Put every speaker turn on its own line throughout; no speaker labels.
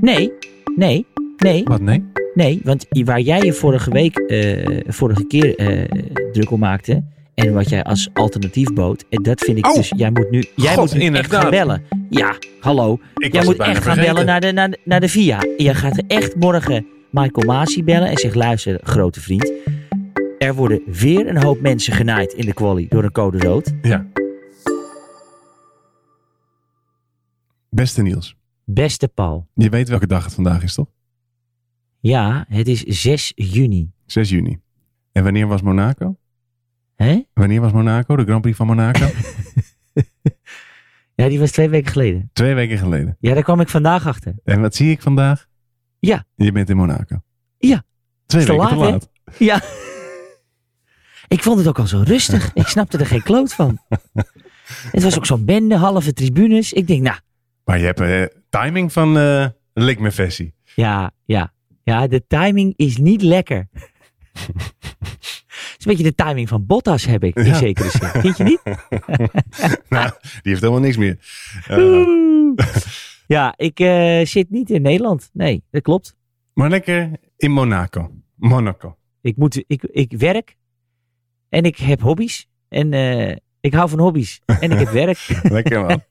Nee, nee, nee,
Wat nee?
nee. Want i- waar jij je vorige week, eh, vorige keer eh, druk om maakte. En wat jij als alternatief bood. En dat vind ik
Oh.
dus. Jij moet nu, jij
God,
moet nu echt
inderdaad.
gaan bellen. Ja, hallo.
Ik
jij
was
moet
het bijna
echt gaan
vergeten.
bellen naar de, naar, de- naar de VIA. Jij gaat echt morgen Michael Masi bellen. En zegt: luister, grote vriend. Er worden weer een hoop mensen genaaid in de quali door een code rood.
Beste Niels,
Beste Paul.
je weet welke dag het vandaag is, toch?
Ja, het is 6 juni.
6 juni. En wanneer was Monaco?
Hè?
Wanneer was Monaco? De Grand Prix van Monaco?
Ja, die was twee weken geleden.
Twee weken geleden.
Ja, daar kwam ik vandaag achter.
En wat zie ik vandaag?
Ja.
Je bent in Monaco.
Ja.
Twee
Is te
weken te
laat, hè?
laat.
Ja. Ik vond het ook al zo rustig. Ik snapte er geen kloot van. Het was ook zo'n bende, halve tribunes. Ik denk, nou,
Maar je hebt eh, timing van eh Lik me Vessie.
ja, ja. Ja, de timing is niet lekker. Het is een beetje de timing van Bottas, heb ik, in
Ja.
zekere zin. Vind je niet?
nou, die heeft helemaal niks meer. Eh,
Oeh. Ja, ik eh, zit niet in Nederland. Nee, dat klopt.
maar lekker in Monaco. Monaco.
Ik, moet, ik, ik werk en ik heb hobby's. En eh, ik hou van hobby's. En ik heb werk.
Lekker man.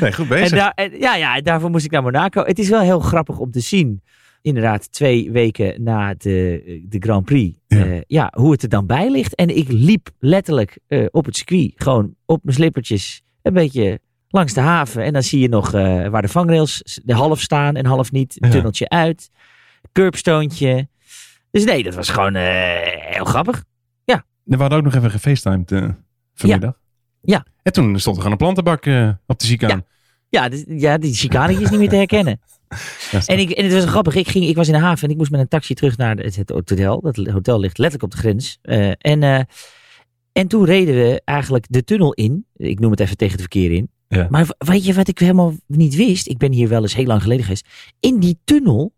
Nee, goed bezig.
En daar, en- ja, ja, daarvoor moest ik naar Monaco. Het is wel heel grappig om te zien. Inderdaad, twee weken na de, eh, de Grand Prix.
Ja.
eh, ja, hoe het er dan bij ligt. En ik liep letterlijk eh, op het circuit. Gewoon op mijn slippertjes. Een beetje langs de haven. En dan zie je nog eh, waar de vangrails s- de half staan en half niet.
Ja.
Tunneltje uit. Curbstoontje. Dus nee, dat was gewoon eh, heel grappig.
We hadden ook nog even gefacetimed eh, vanmiddag.
Ja.
En toen stond er gewoon een plantenbak eh, op de chicane.
Ja, dus- ja die chicane is niet meer te herkennen. En, ik, en het was grappig. Ik, ging, ik was in de haven en ik moest met een taxi terug naar het, het hotel. Dat hotel ligt letterlijk op de grens. Eh, en, eh, en toen reden we eigenlijk de tunnel in. Ik noem het even tegen het verkeer in.
Ja.
Maar w- weet je wat ik helemaal niet wist? Ik ben hier wel eens heel lang geleden geweest. In die tunnel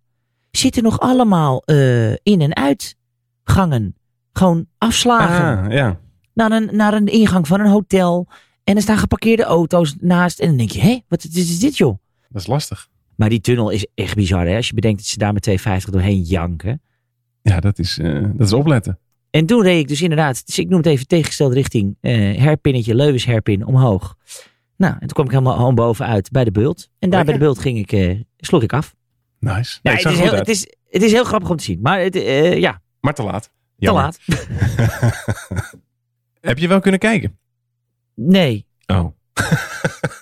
zitten nog allemaal eh, in- en uitgangen. Gewoon afslagen
Ah, ja.
naar een, naar een ingang van een hotel. En er staan geparkeerde auto's naast. En dan denk je, hé, wat is, is dit joh?
Dat is lastig.
Maar die tunnel is echt bizar, hè? Als je bedenkt dat ze daar met 2,50 doorheen janken.
Ja, dat is, eh, dat is opletten.
En toen reed ik dus inderdaad, dus ik noem het even tegengesteld richting eh, herpinnetje, Leuwens herpin, omhoog. Nou, en toen kwam ik helemaal gewoon bovenuit bij de bult. En daar bij de
Lekker.
bult ging ik, eh, sloeg ik af.
Nice.
Nee,
Nee,
het,
het zag
is
er goed
heel,
uit.
het, is, het is heel grappig om te zien. Maar het, eh, ja, te
Maar te laat. Jammer.
laat.
Heb je wel kunnen kijken?
Nee.
Oh.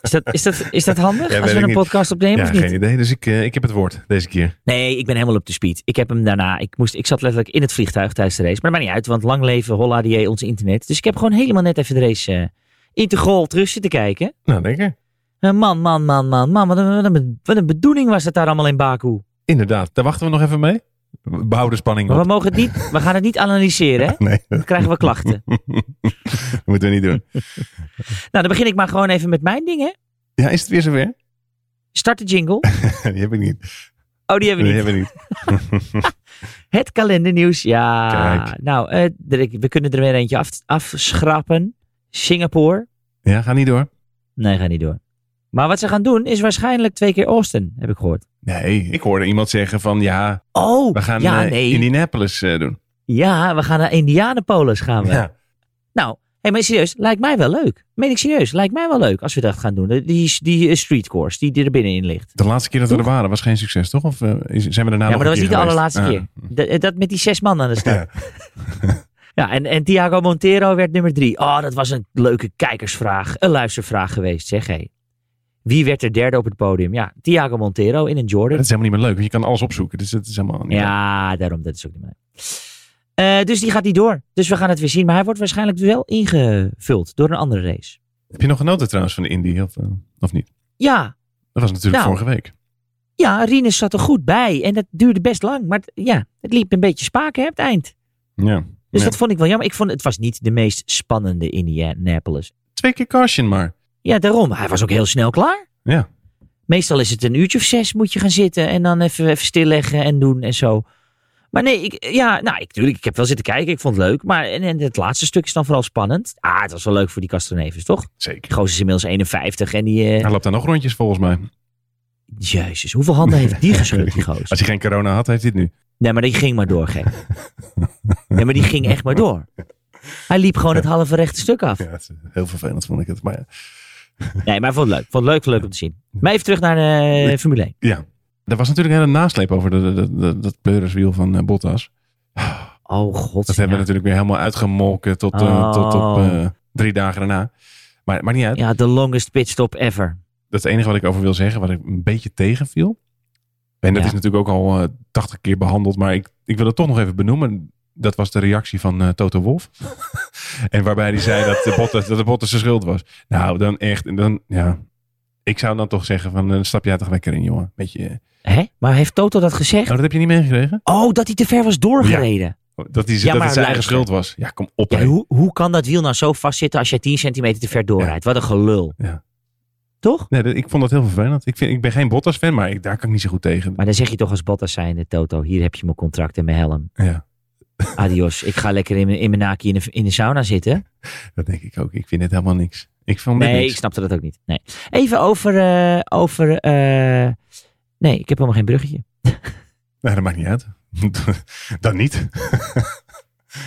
Is dat, is dat, is dat handig
Ja,
als
weet
we
ik
een
niet.
podcast opnemen
ja,
of niet?
geen idee. Dus ik, eh, ik heb het woord deze keer.
Nee, ik ben helemaal op de speed. Ik heb hem daarna. Ik, moest, ik zat letterlijk in het vliegtuig tijdens de race. Maar dat maakt niet uit, want lang leven, holla die ons internet. Dus ik heb gewoon helemaal net even de race eh, integraal terug zitten kijken.
Nou, lekker.
Eh, man, man, man, man, man. Wat een, wat, een, wat een bedoeling was dat daar allemaal in Baku.
Inderdaad. Daar wachten we nog even mee. Bouw de spanning
Maar we,
op.
mogen het niet, we gaan het niet analyseren, hè?
Nee,
Dan krijgen we klachten.
dat moeten we niet doen.
Nou, dan begin ik maar gewoon even met mijn ding, hè?
Ja, is het weer zover?
Start de jingle.
Die heb ik niet.
Oh, die hebben we
Die
niet.
heb ik niet.
Het kalendernieuws, ja.
Kijk.
Nou, eh, er- we kunnen er weer eentje af, afschrappen. Singapore.
Ja, ga niet door.
Nee, ga niet door. Maar wat ze gaan doen is waarschijnlijk twee keer Austin, heb ik gehoord.
Nee, ik hoorde iemand zeggen van ja,
Oh,
we gaan
ja,
eh,
nee.
Indianapolis eh, doen.
Ja, we gaan naar Indianapolis gaan we. Nou, hé, maar serieus, lijkt mij wel leuk. Meen ik serieus, lijkt mij wel leuk als we dat gaan doen. Die, die eh, street course die, die er binnenin ligt.
De laatste keer dat we er waren was geen succes, toch? Of eh, is- zijn we daarna
Ja,
nog
maar dat was
een
niet de
keer
allerlaatste
geweest? Ah,
keer. Dat, eh, dat met die zes man aan de start.
Ja.
Ja, en, en Thiago Montero werd nummer drie. Oh, dat was een leuke kijkersvraag. Een luistervraag geweest, zeg hé. Wie werd er derde op het podium? Ja, Thiago Montero in een Jordan.
Dat is helemaal niet meer leuk, want je kan alles opzoeken. Dus dat is helemaal niet leuk.
Ja, daarom, dat is ook niet meer. Eh, dus die gaat niet door. Dus we gaan het weer zien. Maar hij wordt waarschijnlijk wel ingevuld door een andere race.
Heb je nog genoten trouwens van de Indie of, eh, of niet?
Ja,
Dat was natuurlijk
Nou.
vorige week.
ja, Rinus zat er goed bij. En dat duurde best lang. Maar het- ja, het liep een beetje spaken hè, op het eind.
Ja.
Dus
Ja.
dat vond ik wel jammer. Ik vond het was niet de meest spannende Indianapolis.
Twee keer caution maar.
Ja, daarom. Hij was ook heel snel klaar.
Ja.
Meestal is het een uurtje of zes moet je gaan zitten. En dan even, even stilleggen en doen en zo. Maar nee, ik, ja, nou, ik, tuurlijk, ik heb wel zitten kijken. Ik vond het leuk. Maar en, en het laatste stuk is dan vooral spannend. Ah, het was wel leuk voor die Castroneves, toch?
Zeker.
Die gozer is inmiddels 51 en die... eh,
Hij loopt daar nog rondjes volgens mij.
Jezus, hoeveel handen heeft die geschud, die gozer?
Als hij geen corona had, heeft hij het nu.
Nee, maar die ging maar door, gek. Nee, maar die ging echt maar door. Hij liep gewoon het halve rechte stuk af.
Ja, het is heel vervelend vond ik het. Maar ja.
Nee, maar ik vond het leuk. Vond het leuk, leuk om te zien. Maar even terug naar de Formule 1.
er was natuurlijk een hele nasleep over de, de, de- dat pleuriswiel van eh, Bottas.
Oh god.
Dat hebben we natuurlijk weer helemaal uitgemolken tot, eh,
Oh. tot
tot op eh, drie dagen daarna. Maar, maar niet uit.
Ja, de longest pitstop ever.
Dat is het enige wat ik over wil zeggen, wat ik een beetje tegenviel. En dat
Ja.
is natuurlijk ook al eh 80 keer behandeld, maar ik, ik wil het toch nog even benoemen. Dat was de reactie van eh, Toto Wolf. en waarbij hij zei dat de, Bottas, dat de Bottas zijn schuld was. Nou, dan echt. En dan, ja. Ik zou dan toch zeggen van, eh, stap jij toch lekker in, jongen. Weet je. eh.
Hè? Maar heeft Toto dat
Oh,
gezegd?
dat heb je niet meegekregen?
Oh, dat hij te ver was doorgereden.
Oh, Dat, hij,
Ja,
dat
maar
het zijn eigen
luister.
schuld was. Ja, kom op.
Ja,
hè.
hoe, hoe kan dat wiel nou zo vastzitten als je 10 centimeter te ver doorrijdt? Wat een gelul.
Ja.
Toch?
Nee, dat- ik vond dat heel vervelend. Ik, vind, ik ben geen Bottas-fan, maar ik, daar kan ik niet zo goed tegen.
Maar dan zeg je toch als Bottas zijnde, Toto, hier heb je mijn contract en mijn helm.
Ja,
Adios, ik ga lekker in mijn, in mijn naki in de, in de sauna zitten.
dat denk ik ook. Ik vind het helemaal niks. Ik vond dit
Nee,
niks.
ik snapte dat ook niet. Nee. Even over... eh, over eh, nee, ik heb helemaal geen bruggetje.
Nou, dat maakt niet uit. Dan niet.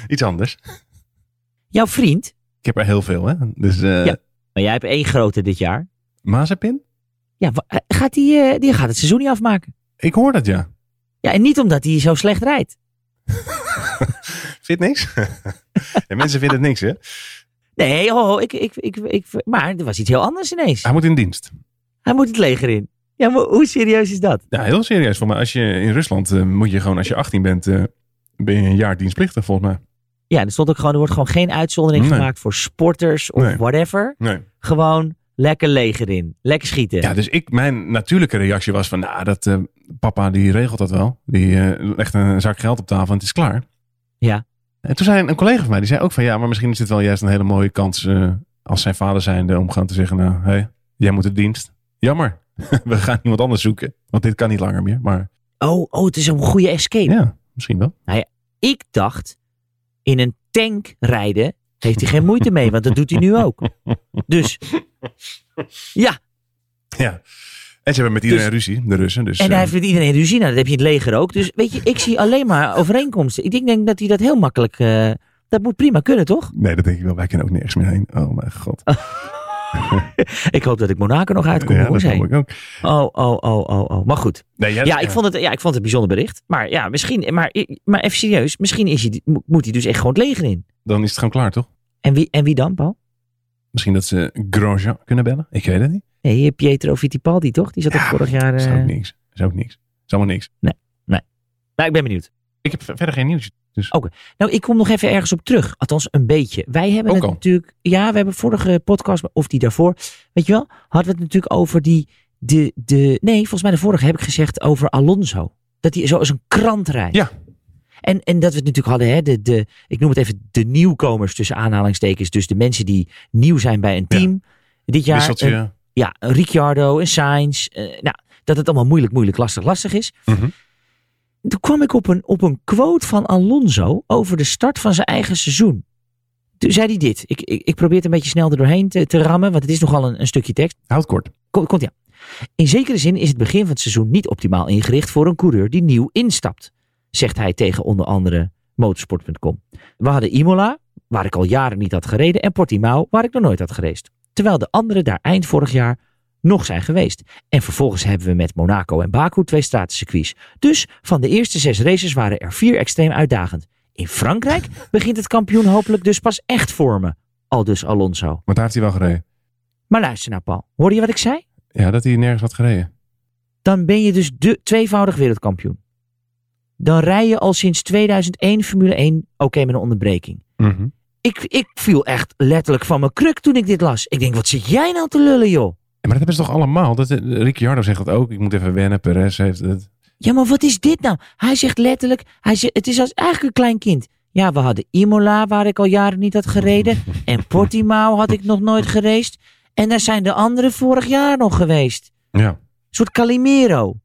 Iets anders.
Jouw vriend,
Ik heb er heel veel, hè. Dus eh
Ja. maar jij hebt één grote dit jaar.
Mazepin?
Ja, wa- eh, gaat die, eh, die gaat het seizoen niet afmaken.
Ik hoor dat, ja.
Ja, en niet omdat hij zo slecht rijdt.
Vindt niks? ja, mensen vinden het niks, hè.
Nee, ho, ho, ik, ik, ik, ik, maar er was iets heel anders ineens.
Hij moet in dienst.
Hij moet het leger in. Ja, maar hoe serieus is dat?
Ja, heel serieus. Voor mij, als je in Rusland eh, moet je gewoon, als je 18 bent, eh, ben je een jaar dienstplichtig, volgens mij.
Ja, er stond ook gewoon, er wordt gewoon geen uitzondering
Nee.
gemaakt voor sporters of
Nee.
whatever.
Nee.
Gewoon lekker leger in. Lekker schieten.
Ja, dus ik, mijn natuurlijke reactie was van, nou, dat eh, papa die regelt dat wel. Die eh, legt een zak geld op tafel en het is klaar.
Ja.
En toen zei een collega van mij, die zei ook van, ja, maar misschien is dit wel juist een hele mooie kans eh, als zijn vader zijnde om gewoon te zeggen, nou, hé, jij moet de dienst. Jammer, we gaan iemand anders zoeken, want dit kan niet langer meer. Maar
Oh, oh, het is een goede escape.
ja, misschien wel.
Ik dacht, in een tank rijden heeft hij geen moeite mee, want dat doet hij nu ook. Dus, ja,
Ja. En ze hebben met iedereen ruzie, de Russen. Dus,
en
eh,
hij heeft met iedereen ruzie. Nou, dat heb je in het leger ook. Dus weet je, ik zie alleen maar overeenkomsten. Ik denk- denk dat hij dat heel makkelijk... eh, dat moet prima kunnen, toch?
Nee, dat denk ik wel. Wij kunnen ook nergens meer heen. Oh mijn god.
Ik hoop dat ik Monaco nog uitkom.
ja,
hoor,
dat
zei
hoop
hij.
ik ook.
Oh, oh, oh, oh, oh. Maar goed.
Nee, jij-
Ja, ik vond het, ja, ik vond het een bijzonder bericht. Maar ja, misschien, maar, maar even serieus. Misschien is hij, mo- moet hij dus echt gewoon het leger in.
Dan is het gewoon klaar, toch?
En wie, en wie dan, Paul?
Misschien dat ze Grosjean kunnen bellen? Ik weet het niet.
Nee, Pietro Fittipaldi, toch? Die zat ook
Ja,
vorig jaar...
Dat is
eh,
ook niks. Dat is ook niks. Dat is allemaal niks.
Nou, ik ben benieuwd.
Ik heb verder geen nieuws. Dus
Nou, ik kom nog even ergens op terug. Althans, een beetje. Wij hebben
Ook
het
al?
natuurlijk... Ja, we hebben vorige podcast, of die daarvoor... Weet je wel, hadden we het natuurlijk over die... De, de, nee, volgens mij de vorige heb ik gezegd over Alonso. Dat hij zo als een krant rijdt.
Ja.
En, en dat we het natuurlijk hadden, hè, de, de, ik noem het even de nieuwkomers tussen aanhalingstekens. Dus de mensen die nieuw zijn bij een
Ja.
team. Dit jaar eh,
wisseltje.
een- ja, een Ricciardo, een Sainz. eh, nou, dat het allemaal moeilijk, moeilijk, lastig, lastig is.
Mhm.
Toen kwam ik op een, op een quote van Alonso over de start van zijn eigen seizoen. Toen zei hij dit. Ik, ik, ik probeer het een beetje snel er doorheen te, te rammen, want het is nogal een, een stukje tekst.
Houd kort.
Kom- komt ja. In zekere zin is het begin van het seizoen niet optimaal ingericht voor een coureur die nieuw instapt, zegt hij tegen onder andere motorsport.com. We hadden Imola, waar ik al jaren niet had gereden, en Portimao, waar ik nog nooit had gereisd. Terwijl de anderen daar eind vorig jaar nog zijn geweest. En vervolgens hebben we met Monaco en Baku twee stratencircuits. Dus van de eerste zes races waren er vier extreem uitdagend. In Frankrijk begint het kampioen hopelijk dus pas echt vormen. Al dus Alonso.
Want daar heeft hij wel gereden.
Maar luister nou Paul, hoorde je wat ik zei?
Ja, dat hij nergens had gereden.
dan ben je dus de tweevoudig wereldkampioen. Dan rij je al sinds 2001 Formule 1, oké met een onderbreking.
Mhm.
Ik, ik viel echt letterlijk van mijn kruk toen ik dit las. Ik denk, wat zit jij nou te lullen, joh?
Maar dat hebben ze toch allemaal? Dat, eh, Ricciardo zegt dat ook. Ik moet even wennen. Perez heeft het.
Ja, maar wat is dit nou? Hij zegt letterlijk, hij zegt, het is als eigenlijk een klein kind. Ja, we hadden Imola, waar ik al jaren niet had gereden. En Portimao had ik nog nooit gereisd. En daar zijn de anderen vorig jaar nog geweest.
Ja.
Een soort Calimero.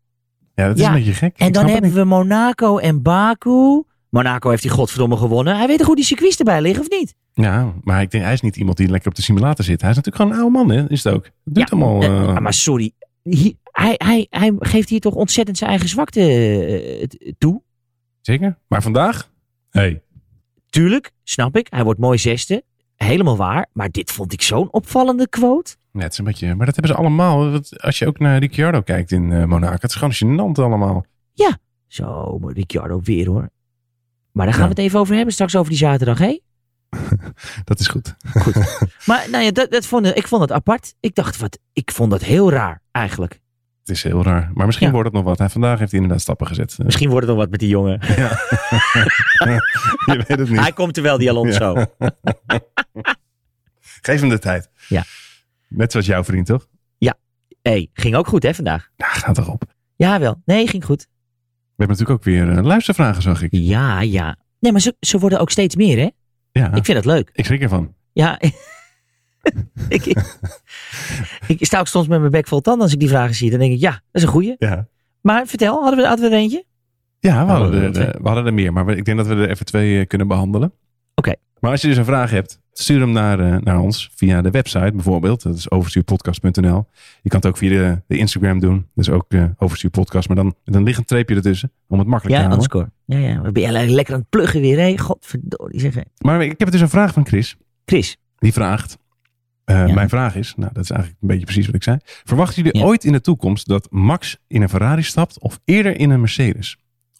Ja, dat is
Ja.
een beetje gek.
En
Ik
dan
snap het
hebben we Monaco en Baku. Monaco heeft hij godverdomme gewonnen. Hij weet toch hoe die circuits erbij liggen, of niet?
niet. Ja, maar ik denk, hij is niet iemand die lekker op de simulator zit. Hij is natuurlijk gewoon een oude man, hè? Is het ook? Het doet
Ja,
allemaal...
Eh,
eh,
ah, maar sorry, hier- hij, hij, hij geeft hier toch ontzettend zijn eigen zwakte eh, t- toe.
Zeker. Maar vandaag? Hey.
Tuurlijk, snap ik. Hij wordt mooi zesde. Helemaal waar. Maar dit vond ik zo'n opvallende quote.
Net een beetje, maar dat hebben ze allemaal. Want Als je ook naar Ricciardo kijkt in eh, Monaco, het is gewoon gênant allemaal.
Zo, maar Ricciardo weer hoor. Maar daar gaan
Ja.
we het even over hebben straks over die zaterdag, hé?
Dat is goed.
Maar nou ja, dat, dat vond, ik vond het apart. Ik dacht, wat, ik vond dat heel raar eigenlijk.
Het is heel raar. Maar misschien
Ja.
wordt het nog wat. Hij, vandaag heeft hij inderdaad stappen gezet. Eh,
Misschien wordt het nog wat met die jongen.
je weet het niet.
Hij komt er wel, die Alonso. Ja,
Geef hem de tijd.
Ja.
Net zoals jouw vriend, toch?
hey, ging ook goed hè vandaag?
Nou, gaat toch op.
Jawel. Nee, ging goed.
We hebben natuurlijk ook weer eh, luistervragen, zag ik.
Ja, ja. Nee, maar ze, ze worden ook steeds meer hè?
Ja,
Ik
ik,
vind dat leuk.
schrik ervan.
Ja. ik, ik sta ook soms met mijn bek vol tanden als ik die vragen zie. Dan denk ik, ja, dat is een goeie.
Ja,
Maar vertel, hadden we, hadden we er eentje?
ja we,
Oh,
hadden er,
dat, hè?
eh, we hadden er meer, maar we- ik denk dat we er even twee eh, kunnen behandelen.
Oké.
Maar als je dus een vraag hebt, stuur hem naar, eh, naar ons via de website bijvoorbeeld. Dat is overstuurpodcast.nl. Je kan het ook via de, de Instagram doen. Dat is ook eh, overstuurpodcast, maar dan, dan ligt een treepje ertussen om het makkelijk te
Ja,
houden.
Anscore. Ja, ja. We ben je lekker aan het pluggen weer hè? Godverdorie zeg. hè.
Maar ik heb dus een vraag van Chris.
Chris.
Die vraagt. eh,
Ja.
Mijn vraag is, nou dat is eigenlijk een beetje precies wat ik zei. Verwachten jullie
Ja.
ooit in de toekomst dat Max in een Ferrari stapt of eerder in een Mercedes?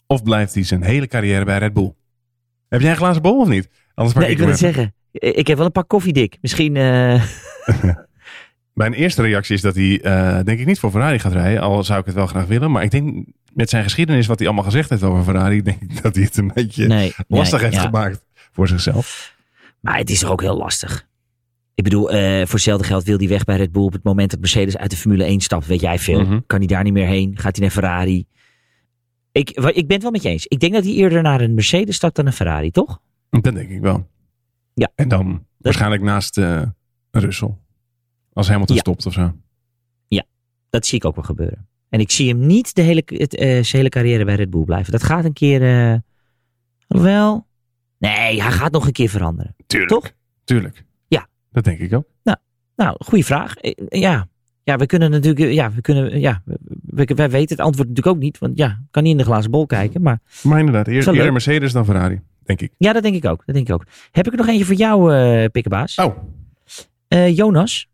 Of blijft hij zijn hele carrière bij Red Bull? Heb jij een glazen bol of niet? Anders pak
Nee, ik
ik,
wil
hem
het
even.
zeggen. Ik heb wel een pak koffiedik. Misschien... eh,
Mijn eerste reactie is dat hij eh, denk ik niet voor Ferrari gaat rijden. Al zou ik het wel graag willen. Maar ik denk met zijn geschiedenis wat hij allemaal gezegd heeft over Ferrari. Denk ik dat hij het een beetje
nee,
lastig
nee,
heeft
ja.
gemaakt voor zichzelf.
Maar het is toch ook heel lastig. Ik bedoel, eh, voor hetzelfde geld wil hij weg bij Red Bull. Op het moment dat Mercedes uit de Formule 1 stapt, weet jij veel.
Mhm.
Kan hij daar niet meer heen? Gaat hij naar Ferrari? Ik, wa- ik ben het wel met je eens. Ik denk dat hij eerder naar een Mercedes stapt dan een Ferrari, toch?
Dat denk ik wel.
Ja.
En dan waarschijnlijk naast eh Russell. Als Hamilton
Ja.
stopt of zo.
Dat zie ik ook wel gebeuren. En ik zie hem niet de hele, het, eh, zijn hele carrière bij Red Bull blijven. Dat gaat een keer... eh, Alhoewel... Nee, hij gaat nog een keer veranderen.
Tuurlijk.
Toch?
Tuurlijk.
Ja.
Dat denk ik ook.
Nou, goede vraag. Eh, eh, Ja. Ja, we kunnen natuurlijk, eh, ja, we kunnen, ja, we- we- wij weten het antwoord natuurlijk ook niet, want ja, ik kan niet in de glazen bol kijken, maar
Maar inderdaad, eer-
Is wel
eerder
leuk.
Mercedes dan Ferrari, denk ik.
Ja, dat denk ik ook. Dat denk ik ook. Heb ik er nog eentje voor jou, eh pikkenbaas?
Oh,
Eh, Jonas,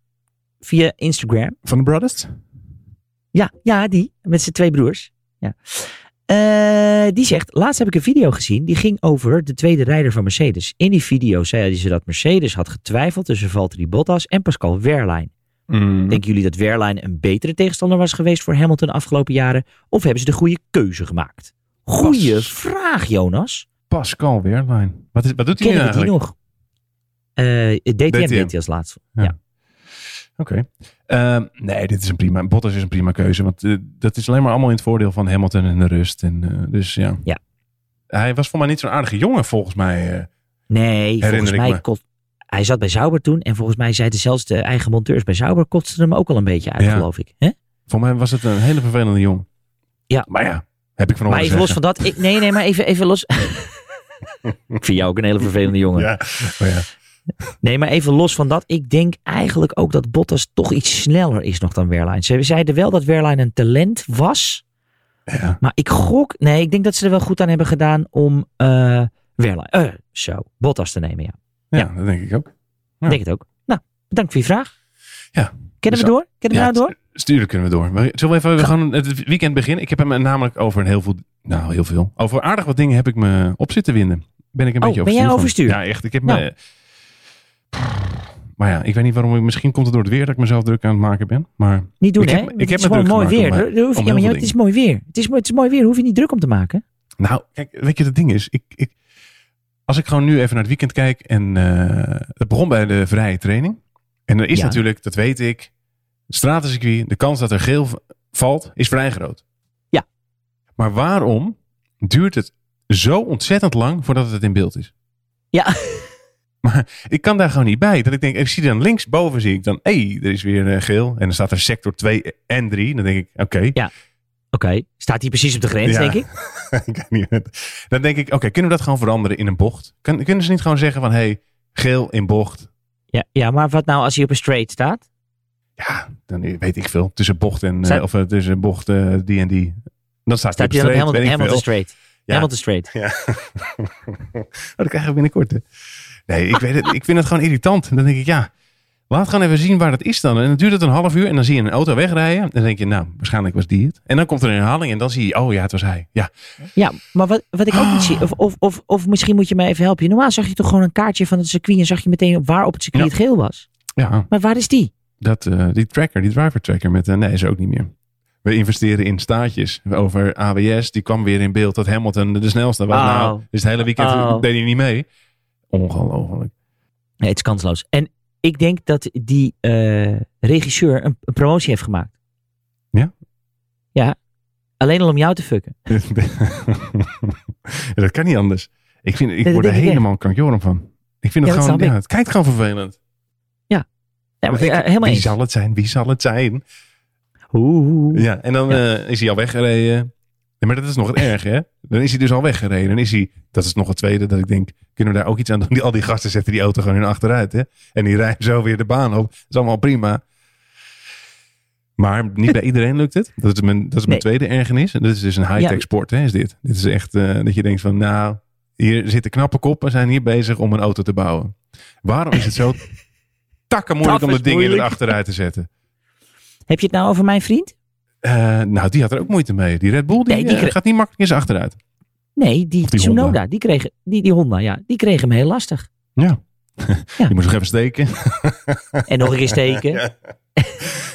via Instagram.
van de Brothers?
Ja, ja, die. Met zijn twee broers. Ja. Eh, die zegt, laatst heb ik een video gezien. Die ging over de tweede rijder van Mercedes. In die video zeiden ze dat Mercedes had getwijfeld tussen Valtteri Bottas en Pascal Wehrlein.
Mm. Hm.
Denken jullie dat Wehrlein een betere tegenstander was geweest voor Hamilton de afgelopen jaren? Of hebben ze de goede keuze gemaakt? Goeie
Pas.
vraag, Jonas.
Pascal Wehrlein. Wat, is, wat doet hij nu
Ken ik die
eigenlijk?
nog? Eh DTM,
DTM.
deed hij als laatste.
Oké. Ehm, nee, dit is een prima. Bottas is een prima keuze. Want eh, dat is alleen maar allemaal in het voordeel van Hamilton en de rust. En, eh, dus ja.
Ja.
Hij was voor mij niet zo'n aardige jongen, volgens mij. eh.
Nee, volgens
ik
mij
me.
kot- hij zat bij Zauber toen. En volgens mij zeiden zelfs de eigen monteurs bij Zauber kotsten hem ook al een beetje uit,
Ja.
geloof ik. Hè?
voor mij was het een hele vervelende jongen.
Ja.
Maar ja, heb ik van
Maar
horen
even los
zeggen.
van dat. Ik, nee, nee, maar even, even los. ik vind jou ook een hele vervelende jongen.
Ja. Oh ja.
Nee, maar even los van dat. Ik denk eigenlijk ook dat Bottas toch iets sneller is nog dan Wehrlein. Ze zeiden wel dat Wehrlein een talent was.
Ja.
Maar ik gok... Nee, ik denk dat ze er wel goed aan hebben gedaan om eh Wehrlein... eh, zo, Bottas te nemen, ja.
Ja,
Ja.
dat denk ik ook.
Ik denk het ook. Nou, bedankt voor je vraag.
Ja,
Kennen we
zo-
door? Kennen we
Ja,
nou door?
Sturen kunnen we door. Maar Zullen we even we gaan het weekend beginnen? Ik heb hem namelijk over een heel veel... Nou, heel veel. Over aardig wat dingen heb ik me op zitten winden. Ben ik een
Oh,
beetje
ben jij
van.
overstuur?
Ja, echt. Ik heb
Nou.
me... Maar ja, ik weet niet waarom. ik- Misschien komt het door het weer dat ik mezelf druk aan het maken ben. Maar
Niet doen,
Ik
hè?
heb-
Want het
ik heb
is
me
gewoon
druk
mooi
gemaakt
weer.
om mij-
Daar- daar hoef je-
om
Ja, maar
heel
joh,
veel
het is mooi weer. Het is, mooi- het is mooi weer. Hoef je niet druk om te maken.
nou, kijk, weet je, het ding is... Ik, ik, als ik gewoon nu even naar het weekend kijk... En eh, het begon bij de vrije training. En er is
Ja.
natuurlijk, dat weet ik... Stratencircuit, de kans dat er geel v- valt, is vrij groot.
Ja.
Maar waarom duurt het zo ontzettend lang voordat het in beeld is?
Ja.
Maar ik kan daar gewoon niet bij. Dat ik denk, ik zie dan linksboven zie ik dan, hé, er is weer eh, geel. En dan staat er sector 2 en 3. Dan denk ik, oké.
Oké. Staat hij precies op de grens,
Ja.
denk ik?
Ik weet niet. dan denk ik, oké, kunnen we dat gewoon veranderen in een bocht? Kun- kunnen ze niet gewoon zeggen van, hé, hey, geel in bocht.
Ja, ja, maar wat nou als hij op een straight staat?
Ja, dan weet ik veel. Tussen bocht en... eh,
Staat-
of eh, tussen bocht eh, die en die. Dan staat
Staat
hij op
hij dan op
streep,
Hamilton,
weet ik
Hamilton
veel.
Straight?
Ja.
Hamilton Straight.
Ja. oh, dat krijgen we binnenkort. Hè. Nee, ik, weet het, ik vind het gewoon irritant. Dan denk ik, ja, laat gewoon even zien waar dat is dan. En dan duurt het een half uur en dan zie je een auto wegrijden. En dan denk je, nou, waarschijnlijk was die het. En dan komt er een herhaling en dan zie je, oh ja, het was hij. Ja,
Ja, maar wat, wat ik ook niet zie, of, of, of, of misschien moet je mij even helpen. Normaal zag je toch gewoon een kaartje van het circuit en zag je meteen op waar op het circuit
Ja.
het geel was.
ja
Maar waar is die?
dat, eh, die tracker, die driver tracker met, eh, nee, is er ook niet meer. We investeren in staatjes over AWS. Die kwam weer in beeld dat Hamilton de snelste was.
Oh.
Nou, dus het hele weekend
Oh.
deed hij niet mee. Ongelooflijk.
Nee, het is kansloos. En ik denk dat die eh, regisseur een, een promotie heeft gemaakt.
Ja?
Ja. Alleen al om jou te fucken.
Ja, dat kan niet anders. Ik, vind, ik
dat
word er
denk ik
helemaal kankjoren van. Ik vind
Ja, dat
het gewoon,
snap
ja, het kijkt gewoon vervelend.
Ja, maar,
Dan denk
eh,
ik,
helemaal
wie
eens.
zal het zijn? Wie zal het zijn?
Oeh.
Ja, en dan eh, is hij al weggereden. Ja, maar dat is nog het erg, hè? Dan is hij dus al weggereden. Dan is hij, dat is nog het tweede, dat ik denk, kunnen we daar ook iets aan doen? Die, al die gasten zetten die auto gewoon in achteruit, hè? En die rijden zo weer de baan op. Dat is allemaal prima. Maar niet bij iedereen lukt het. Dat is mijn, dat is mijn
Nee.
tweede ergernis. En dat is dus een high-tech sport, hè, is dit. Dit is echt eh, dat je denkt van, nou, hier zitten knappe koppen, zijn hier bezig om een auto te bouwen. Waarom is het zo takken moeilijk
Dat
om
is
dat ding in
moeilijk.
het achteruit te zetten?
Heb je het nou over mijn vriend?
Eh, nou, die had er ook moeite mee. Die Red Bull die,
Nee, die
eh,
kre-
gaat niet makkelijk in zijn achteruit.
Nee, die,
Of die
Tsunoda.
Honda.
Die, kreeg, die, die Honda, ja. Die kreeg hem heel lastig.
Ja.
Ja.
Die moest nog even steken.
En nog een keer steken.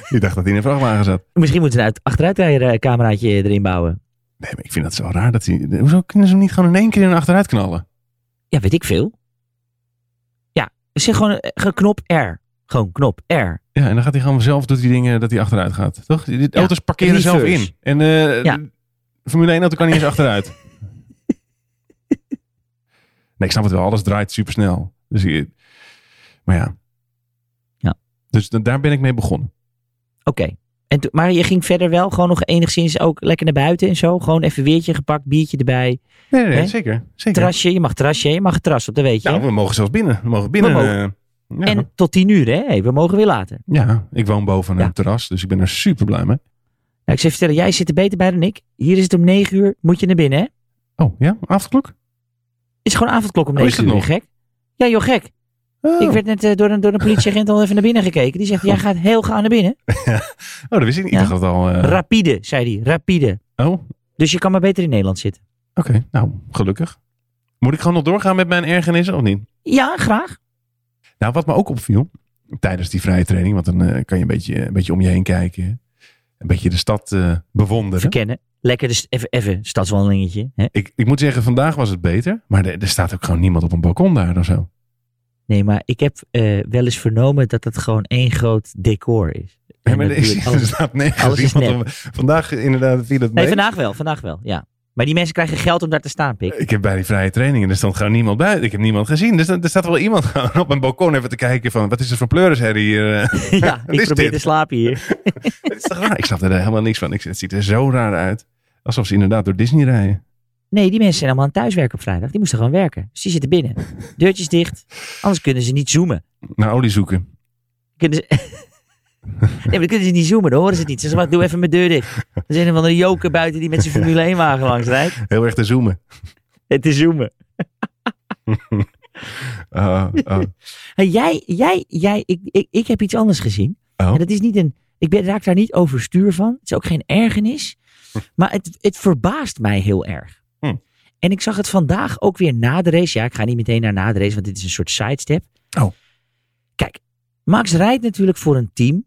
Die dacht dat hij in een vrachtwagen zat.
Misschien moeten ze een achteruitrijcameraatje eh, erin bouwen.
Nee, maar ik vind dat zo raar. Dat hij, hoezo kunnen ze hem niet gewoon in één keer in een achteruit knallen?
Ja, weet ik veel. Ja, zeg gewoon, eh, gewoon knop R. Gewoon knop R.
Ja, en dan gaat hij gewoon zelf doet die dingen dat hij achteruit gaat. Toch? Die die
Ja.
auto's parkeren zelf
Reverse.
in. En eh,
Ja.
Formule 1 auto kan niet eens achteruit. Nee, ik snap het wel. Alles draait supersnel. Dus, je- maar ja.
Ja.
Dus da- daar ben ik mee begonnen.
Oké. En toen- Maar je ging verder wel gewoon nog enigszins ook lekker naar buiten en zo. Gewoon even weertje gepakt, biertje erbij.
Nee, nee, nee,
Nee?
zeker. zeker.
Terrasje, je mag terrasje, je mag het terras op, dat weet je.
Nou, we mogen zelfs binnen. We mogen binnen.
We
eh, ja.
En tot tien uur, hè? Hey, we mogen weer later.
ja, ik woon boven een
Ja.
terras, dus ik ben er super blij mee.
Nou, ik zou je vertellen, jij zit er beter bij dan ik. Hier is het om negen uur, moet je naar binnen, hè?
Oh ja, avondklok?
Is gewoon avondklok om
Oh, is
negen
het
uur,
nog?
gek? Ja, joh, gek.
Oh.
Ik werd net eh, door, een, door een politieagent al even naar binnen gekeken. Die zegt, jij gaat heel gauw naar binnen.
oh, dat wist ik niet.
Ja.
Ik dacht dat al. eh,
Rapide, zei hij. Rapide.
oh, oké.
Dus je kan maar beter in Nederland zitten.
Nou, gelukkig. Moet ik gewoon nog doorgaan met mijn ergernissen of niet?
Ja, graag.
Nou, wat me ook opviel tijdens die vrije training, want dan eh, kan je een beetje, een beetje om je heen kijken. Een beetje de stad eh, bewonderen.
Verkennen. Lekker, dus even, even stadswandelingetje. Hè?
Ik, ik moet zeggen, vandaag was het beter, maar er, er staat ook gewoon niemand op een balkon daar of zo.
Nee, maar ik heb eh, wel eens vernomen dat het gewoon één groot decor is.
Ja,
En
maar er,
natuurlijk
is,
alles-
er staat nergens
alles is
iemand
nep.
op- Vandaag inderdaad viel het mee.
Nee, vandaag wel, vandaag wel, ja. Maar die mensen krijgen geld om daar te staan, Pik.
Ik heb bij die vrije trainingen, er stond gewoon niemand buiten. Ik heb niemand gezien. Dus dan- er staat wel iemand gewoon op een balkon even te kijken van... wat is er voor pleurisherrie hier? Eh,
ja, ik
is
probeer
dit?
te slapen hier.
Het is toch raar? Ik snap er helemaal niks van. Ik, het ziet er zo raar uit. Alsof ze inderdaad door Disney rijden.
Nee, die mensen zijn allemaal aan het thuiswerken op vrijdag. Die moesten gewoon werken. Dus die zitten binnen. Deurtjes dicht. Anders kunnen ze niet zoomen.
Naar olie zoeken.
Kunnen ze... Nee, maar dan kunnen ze niet zoomen. Dan horen ze het niet. Ze zeggen, wacht, doe even mijn deur dicht. Er is een van de joker buiten die met zijn Formule 1 wagen langs rijdt.
Heel erg te zoomen.
Het is zoomen.
Oh, oh.
Hey, Nou, jij, jij, jij, ik, ik, ik heb iets anders gezien.
Oh.
En dat is niet een, ik ben, raak daar niet overstuur van. Het is ook geen ergernis. Maar het, het verbaast mij heel erg.
Hm.
En ik zag het vandaag ook weer na de race. Ja, ik ga niet meteen naar na de race, want dit is een soort sidestep.
Oh.
Kijk, Max rijdt natuurlijk voor een team.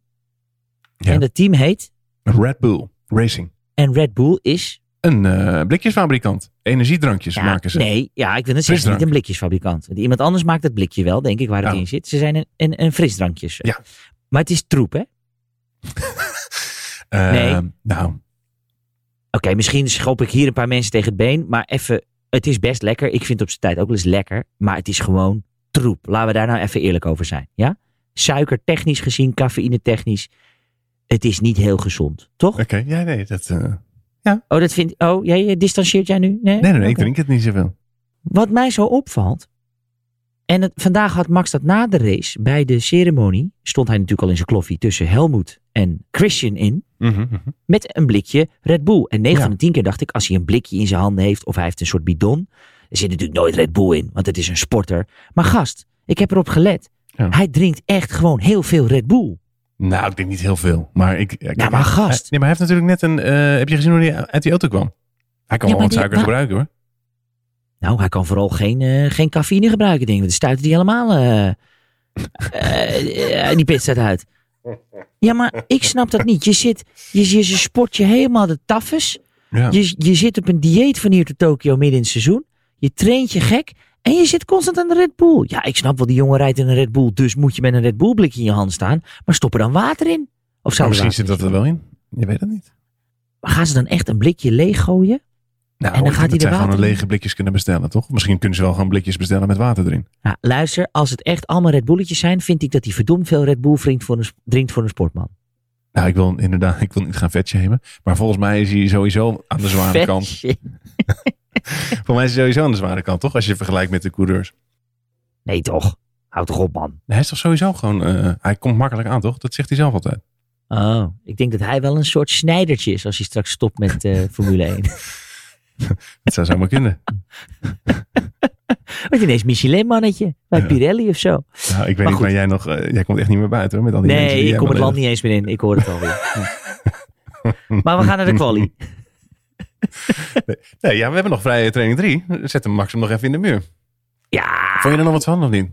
Ja.
En dat team heet,
Red Bull Racing.
en Red Bull is...
Een eh, blikjesfabrikant. Energiedrankjes
Ja,
maken ze.
Nee, ja, ik wil het zeggen,
Frisdrank.
niet een blikjesfabrikant. Want Iemand anders maakt het blikje wel, denk ik, waar het
Oh.
in zit. Ze zijn een, een, een frisdrankjes.
Ja.
Maar het is troep, hè?
Eh,
nee.
Nou,
Oké, misschien schop ik hier een paar mensen tegen het been. Maar even, het is best lekker. Ik vind het op zijn tijd ook wel eens lekker. Maar het is gewoon troep. Laten we daar nou even eerlijk over zijn. Ja? Suiker technisch gezien, cafeïne technisch. Het is niet heel gezond, toch?
oké. Ja, nee, dat... eh,
Oh, dat vind, oh jij eh, distancieert jij nu? Nee,
nee, nee, nee, ik
Oké.
drink het niet zoveel.
Wat mij zo opvalt, En het- vandaag had Max dat na de race, bij de ceremonie, stond hij natuurlijk al in zijn kloffie tussen Helmoet en Christian in.
Mhm, mhm.
Met een blikje Red Bull. En 9
Ja.
van de 10 keer dacht ik, als hij een blikje in zijn handen heeft of hij heeft een soort bidon. Er zit natuurlijk nooit Red Bull in, want het is een sporter. Maar gast, ik heb erop gelet.
Ja.
Hij drinkt echt gewoon heel veel Red Bull.
Nou, ik denk niet heel veel. Maar ik. kijk,
Nou, maar
hij-
gast.
hij- nee, maar hij heeft natuurlijk net een. eh, heb je gezien hoe hij uit die auto kwam? Hij kan
Ja,
wel
maar
wat
die-
suiker
maar-
gebruiken hoor.
Nou, hij kan vooral geen, eh, geen cafeïne gebruiken, denk ik. Want dan stuit hij helemaal eh, eh, eh, die pitstraat uit. Ja, maar ik snap dat niet. Je zit, je, je, je sport je helemaal de taffes.
Ja.
Je, je zit op een dieet van hier tot Tokio midden in het seizoen. Je traint je gek. En je zit constant aan de Red Bull. Ja, ik snap wel, die jongen rijdt in een Red Bull. Dus moet je met een Red Bull blikje in je hand staan. Maar stop er dan water in. Of zou Nou,
Maar
er water
misschien zit dat
in
er wel in. Je weet het niet.
Maar gaan ze dan echt een blikje leeg gooien?
Nou,
En dan
ik
gaat
denk dat
hij er
zij gewoon
water in.
lege blikjes kunnen bestellen, toch? Misschien kunnen ze wel gewoon blikjes bestellen met water erin.
Nou, luister, als het echt allemaal Red Bulletjes zijn, vind ik dat hij verdomd veel Red Bull drinkt voor een, sp- drinkt voor een sportman.
Nou, ik wil inderdaad, ik wil niet gaan vetshamen. Maar volgens mij is hij sowieso aan de zware
Vet
kant.
shit.
Volgens mij is hij sowieso aan de zware kant, toch? Als je het vergelijkt met de coureurs.
Nee toch, houd toch op man.
Hij is toch sowieso gewoon, eh, hij komt makkelijk aan, toch? Dat zegt hij zelf altijd.
Oh, ik denk dat hij wel een soort snijdertje is als hij straks stopt met eh, Formule 1.
Dat zou zomaar kunnen.
Wordt ineens Michelin mannetje, bij
Ja.
Pirelli of zo.
Nou, ik weet
Maar
niet
goed.
waar jij nog, eh, jij komt echt niet meer buiten hoor, met al die mensen
Nee,
die
ik
jij
kom het land
beledigt.
niet eens meer in, ik hoor het alweer. Ja. Maar we gaan naar de quali.
Nee, ja, we hebben nog vrije training 3. Zet hem Max hem nog even in de muur.
Ja,
Vond je er nog wat van of niet?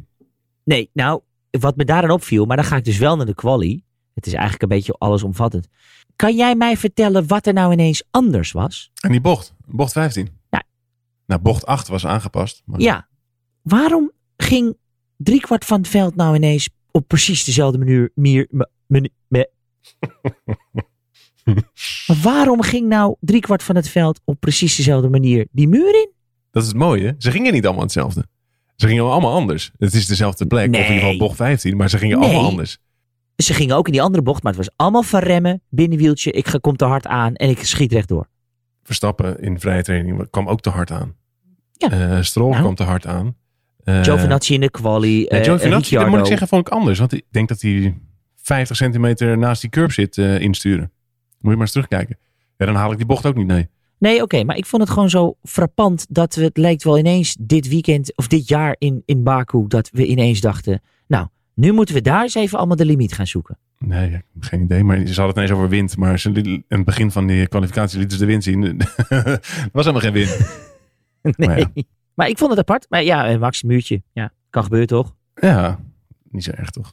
nee, nou, wat me daaraan opviel, maar dan ga ik dus wel naar de quali. Het is eigenlijk een beetje allesomvattend. Kan jij mij vertellen wat er nou ineens anders was?
En die bocht, bocht 15.
Ja.
Nou, bocht 8 was aangepast. maar-
Ja. Waarom ging driekwart van het veld nou ineens op precies dezelfde manier... mier- me- menu- me- maar waarom ging nou driekwart van het veld op precies dezelfde manier die muur in?
Dat is het mooie. Ze gingen niet allemaal hetzelfde. Ze gingen allemaal anders. Het is dezelfde plek, of in ieder
Nee.
geval bocht 15, maar ze gingen
Nee.
allemaal anders.
Ze gingen ook in die andere bocht, maar het was allemaal van remmen, binnenwieltje, ik ga- kom te hard aan en ik schiet rechtdoor.
Verstappen in vrije training kwam ook te hard aan.
Ja.
Eh, Stroll
Nou.
kwam te hard aan. Eh,
Giovinazzi in de quali,
nee,
eh,
Giovinazzi, dat
Ricciardo.
moet ik zeggen, vond ik anders. Want ik denk dat hij 50 centimeter naast die curb zit eh, insturen. Moet je maar eens terugkijken. Ja, dan haal ik die bocht ook niet, nee.
Nee, oké, maar ik vond het gewoon zo frappant dat we, het lijkt wel ineens dit weekend of dit jaar in, in Baku, dat we ineens dachten, nou, nu moeten we daar eens even allemaal de limiet gaan zoeken.
Nee, ja, geen idee. Maar ze hadden het ineens over wind. Maar ze liet- in het begin van die kwalificatie lieten ze de wind zien. Er was helemaal geen wind.
Nee.
Maar
Maar,
Oh ja.
ik vond het apart. Maar ja, eh, Max Muurtje, ja, kan gebeuren toch?
Ja, niet zo erg toch?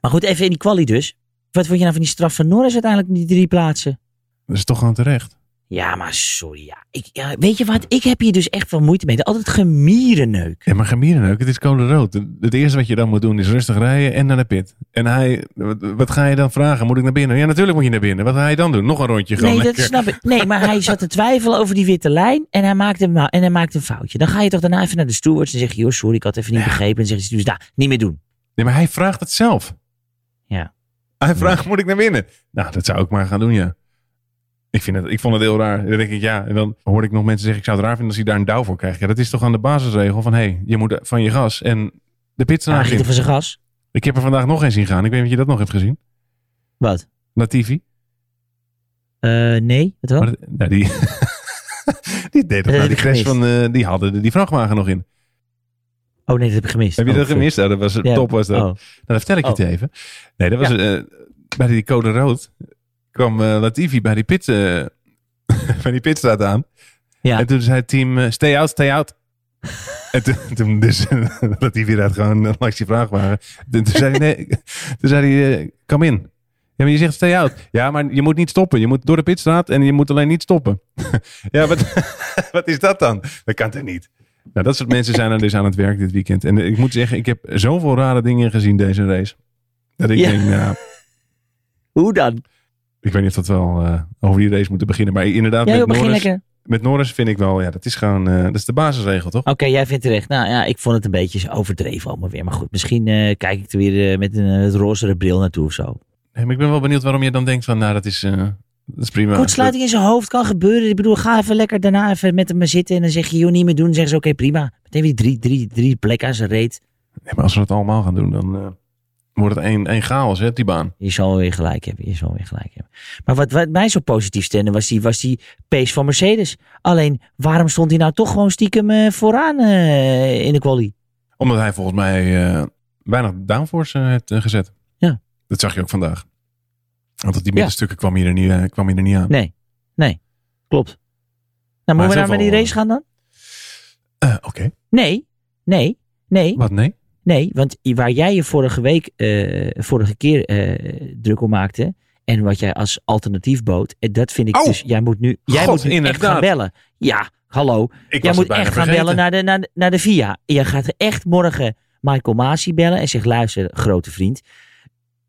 Maar goed, even in die quali dus. Wat vond je nou van die straf van Norris uiteindelijk, die drie plaatsen?
Dat is toch gewoon terecht.
Ja, maar sorry, ja. Ik, ja. Weet je wat, ik heb hier dus echt wel moeite mee. Altijd gemierenneuk.
Ja, maar Gamieren ook. Het is code rood. Het eerste wat je dan moet doen is rustig rijden en naar de pit. En hij, wat, wat ga je dan vragen? Moet ik naar binnen? Ja, natuurlijk moet je naar binnen. Wat ga je dan doen? Nog een rondje gewoon.
Nee, dat
lekker.
snap ik. Nee, maar hij zat te twijfelen over die witte lijn en hij maakte, een ma- en hij maakte een foutje. Dan ga je toch daarna even naar de stewards en zeg je, joh, sorry, ik had even niet begrepen. En zeggen ze, dus daar, niet meer doen.
Nee, maar hij vraagt het zelf.
Ja.
Hij vraagt, moet ik naar binnen? Nou, dat zou ik maar gaan doen, ja. Ik, vind het, ik vond het heel raar. Dan denk ik, ja. En dan hoorde ik nog mensen zeggen, ik zou het raar vinden als hij daar een douw voor krijgt. Ja, dat is toch aan de basisregel van, hé, hey, je moet van je gas en de
Nou,
pitstraat
hij giet
in.
van zijn gas.
Ik heb er vandaag nog eens zien gaan. Ik weet niet of je dat nog hebt gezien.
Wat?
Latifi.
Eh, nee, wat dan?
Maar, dat- nou, die, die deed dat
heb
nou, die
ik
crash
gemist.
van, eh, die hadden de- die vrachtwagen nog in.
Oh nee, dat heb ik gemist.
Heb je
Oh,
dat
fuck.
gemist? Nou, dat was
Ja,
top was dat.
oh.
Nou, dat vertel ik je
Oh.
het even. Nee, dat was eh, bij die code rood kwam eh, Latifi bij die pit eh, bij die pitstraat aan.
Ja.
En toen zei het team eh, stay out, stay out. en toen, toen dus Latifi rijdt gewoon eh, langs die vrachtwagen. Toen, toen zei hij nee, toen zei hij eh, kom in. Ja, maar je zegt stay out. Ja, maar je moet niet stoppen. Je moet door de pitstraat en je moet alleen niet stoppen. ja, wat, wat is dat dan? Dat kan toch niet? Nou, dat soort mensen zijn er dus aan het werk dit weekend. En eh, ik moet zeggen, ik heb zoveel rare dingen gezien deze race. Dat ik
Ja.
denk, nou,
Hoe dan?
ik weet niet of dat wel eh, over die race moeten beginnen. Maar inderdaad,
Jij
met,
joh, begin
Norris,
lekker.
met Norris vind ik wel, ja, dat is gewoon, eh, dat is de basisregel, toch?
Oké, jij vindt terecht. Nou ja, ik vond het een beetje overdreven allemaal weer. Maar goed, misschien eh, kijk ik er weer eh, met een eh, rozere bril naartoe of zo.
Nee, maar ik ben wel benieuwd waarom je dan denkt van, nou, dat is, eh, dat is prima.
Kortsluiting in zijn hoofd kan gebeuren. Ik bedoel, ga even lekker daarna even met hem zitten. En dan zeg je, joh, niet meer doen. Dan zeggen ze, oké, prima. Meteen weer die drie, drie, drie plekken aan zijn reet.
Nee, maar als we dat allemaal gaan doen, dan eh, wordt het één, één chaos, hè, die baan.
Je zal weer gelijk hebben. Je zal weer gelijk hebben. Maar wat, wat mij zo positief stemde was die, was die pace van Mercedes. Alleen, waarom stond hij nou toch gewoon stiekem eh, vooraan eh, in de quali?
Omdat hij volgens mij eh, weinig downforce eh, heeft eh, gezet.
Ja.
Dat zag je ook vandaag. Want op die middenstukken kwam, je er niet, eh, kwam je er niet aan.
Nee, nee. Klopt. Nou, moeten
Maar
we nou
hij is
naar die
wel-
race gaan dan?
Eh, Oké,
Nee, nee, nee,
wat nee?
nee. Want i- waar jij je vorige week, eh, vorige keer eh, druk om maakte... En wat jij als alternatief bood, eh, dat vind ik
Oh.
dus. Jij moet nu, jij
God,
moet nu echt
inderdaad.
gaan bellen. Ja, hallo.
Ik
Jij
was het
moet
bijna
echt gaan
vergeten.
bellen naar de, naar, de, naar de VIA. Je gaat echt morgen Michael Masi bellen en zegt: luister, grote vriend.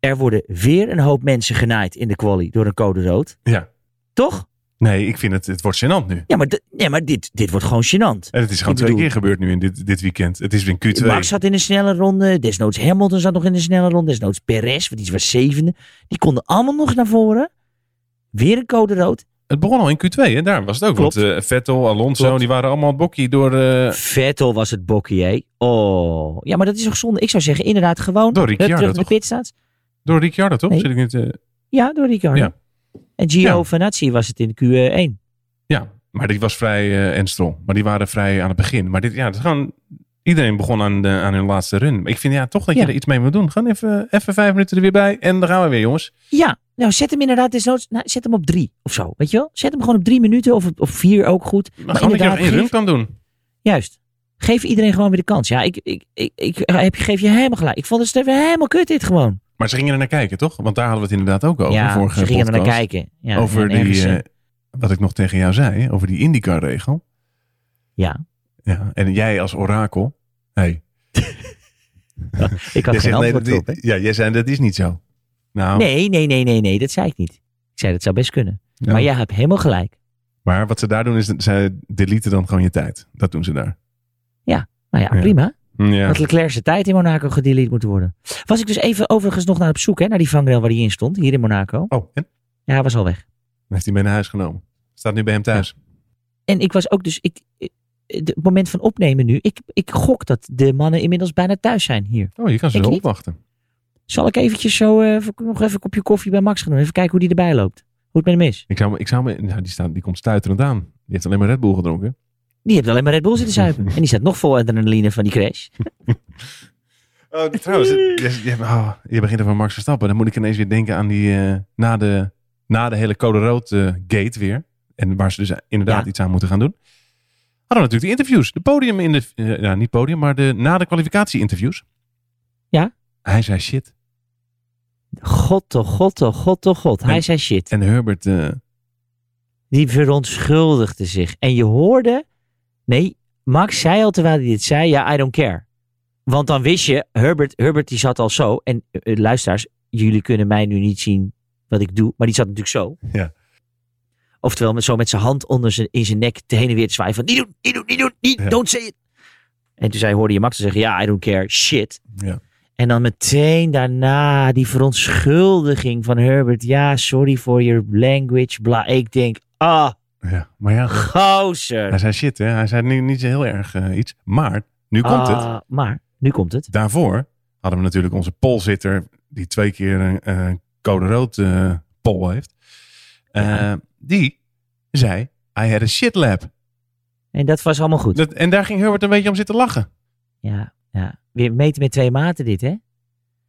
Er worden weer een hoop mensen genaaid in de quali door een code rood.
Ja.
Toch?
Nee, ik vind het, het wordt gênant nu.
Ja, maar, d- nee, maar dit, dit wordt gewoon gênant.
En het
Ik
is gewoon twee
bedoel-
keer gebeurd nu in dit, dit weekend. Het is weer in Q2.
Max zat in een snelle ronde. Desnoods Hamilton zat nog in een snelle ronde. Desnoods Perez, want die was zevende. Die konden allemaal nog naar voren. Weer een code rood.
Het begon al in Q2 en daar was het ook.
Klopt.
Want eh, Vettel, Alonso,
Klopt.
die waren allemaal het bokkie door, eh,
Vettel was het bokkie, hè? Oh. Ja, maar dat is toch zonde. Ik zou zeggen, inderdaad, gewoon
Door
hup,
Ricciardo,
terug naar de
toch?
pitstaat.
door Ricciardo, toch?
Nee.
Zit ik niet, eh,
Ja, door Ricardo.
Ja.
En Gio
Ja.
Vanazzi was het in de Q1.
ja, maar die was vrij eh, en strol. Maar die waren vrij aan het begin. Maar dit, ja, het is gewoon... Iedereen begon aan, de, aan hun laatste run. Ik vind ja, toch dat
Ja.
je er iets mee moet doen. Gewoon even, even vijf minuten er weer bij. En dan gaan we weer, jongens.
Ja, nou zet hem inderdaad desnoods, nou, zet hem op drie of zo, weet je wel? Zet hem gewoon op drie minuten of op, op vier ook goed.
Maar, gewoon dat je nog één
geef-
run kan doen.
Juist. Geef iedereen gewoon weer de kans. Ja, ik, ik, ik, ik eh, heb, je- geef je helemaal gelijk. Ik vond het Steven helemaal kut dit gewoon.
Maar ze gingen er naar kijken, toch? Want daar hadden we het inderdaad ook over.
ja,
vorige
ze gingen er naar
podcast.
kijken. Ja,
over
en
die,
ergens, eh,
eh, wat ik nog tegen jou zei, over die Indica-regel.
ja,
Ja, en jij als orakel. Hey,
ik had
jij
geen
zegt, nee,
antwoord
dat-
op. hè?
ja, jij zei dat is niet zo. Nou,
Nee, nee, nee, nee, nee, dat zei ik niet. Ik zei dat zou best kunnen.
ja.
Maar jij hebt helemaal gelijk.
maar wat ze daar doen is, dat ze deleten dan gewoon je tijd. Dat doen ze daar.
Nou ja,
Ja.
prima.
Hm, Ja.
Dat Leclerc zijn tijd in Monaco gedelete moet worden. Was ik dus even overigens nog naar op zoek, hè, naar die vangrail waar hij in stond, hier in Monaco.
Oh, en?
Ja, hij was al weg.
Dan heeft hij mee naar huis genomen. Staat nu bij hem thuis.
En ik was ook dus, ik, ik- het moment van opnemen nu, ik, ik gok dat de mannen inmiddels bijna thuis zijn hier.
Oh, je kan ze
Ik
wel
niet.
opwachten.
Zal ik eventjes zo eh, even- nog even een kopje koffie bij Max gaan doen? Even kijken hoe die erbij loopt. Hoe het met hem is.
Ik zou, me- ik zou me, nou, die, staat, die komt stuiterend aan. Die heeft alleen maar Red Bull gedronken.
Die heeft alleen maar Red Bull zitten zuipen. en die staat nog vol adrenaline van die crash.
Oh, trouwens, je, je, oh, je begint over Max Verstappen. Dan moet ik ineens weer denken aan die eh, na, de, na de hele code rood eh, gate weer. En waar ze dus inderdaad
Ja.
iets aan moeten gaan doen. Hadden we natuurlijk de interviews. De podium in de, eh, ja, niet podium, maar de, na de kwalificatie interviews.
Ja.
Hij zei shit.
God, oh god, oh god, oh god. Hij
En-
zei shit.
En Herbert, eh,
Die verontschuldigde zich. En je hoorde. Nee, Max zei al terwijl hij dit zei: ja, I don't care. Want dan wist je, Herbert, Herbert die zat al zo. En eh, eh, luisteraars, jullie kunnen mij nu niet zien wat ik doe. Maar die zat natuurlijk zo.
Ja.
Oftewel, met, zo met zijn hand onder zijn, in zijn nek te heen en weer te zwaaien. Van, niet doen, niet doen, niet doen, niet,
Ja.
don't say it. En toen zei, hoorde je Max te zeggen, ja, I don't care, shit.
Ja.
En dan meteen daarna die verontschuldiging van Herbert. Ja, sorry for your language, bla. Ik denk, ah,
ja, maar ja, hij
Gozer.
zei shit. Hè. Hij zei nu niet zo heel erg eh, iets. Maar, nu komt het.
Ah, maar nu komt het.
Daarvoor hadden we natuurlijk onze polzitter, die twee keer een eh, code rood eh pol heeft. Eh,
Ja.
Die zei, I had a shit lab.
En dat was allemaal goed.
Dat, en daar ging Herbert een beetje om zitten lachen.
Ja, ja. Weer meten met twee maten dit, hè?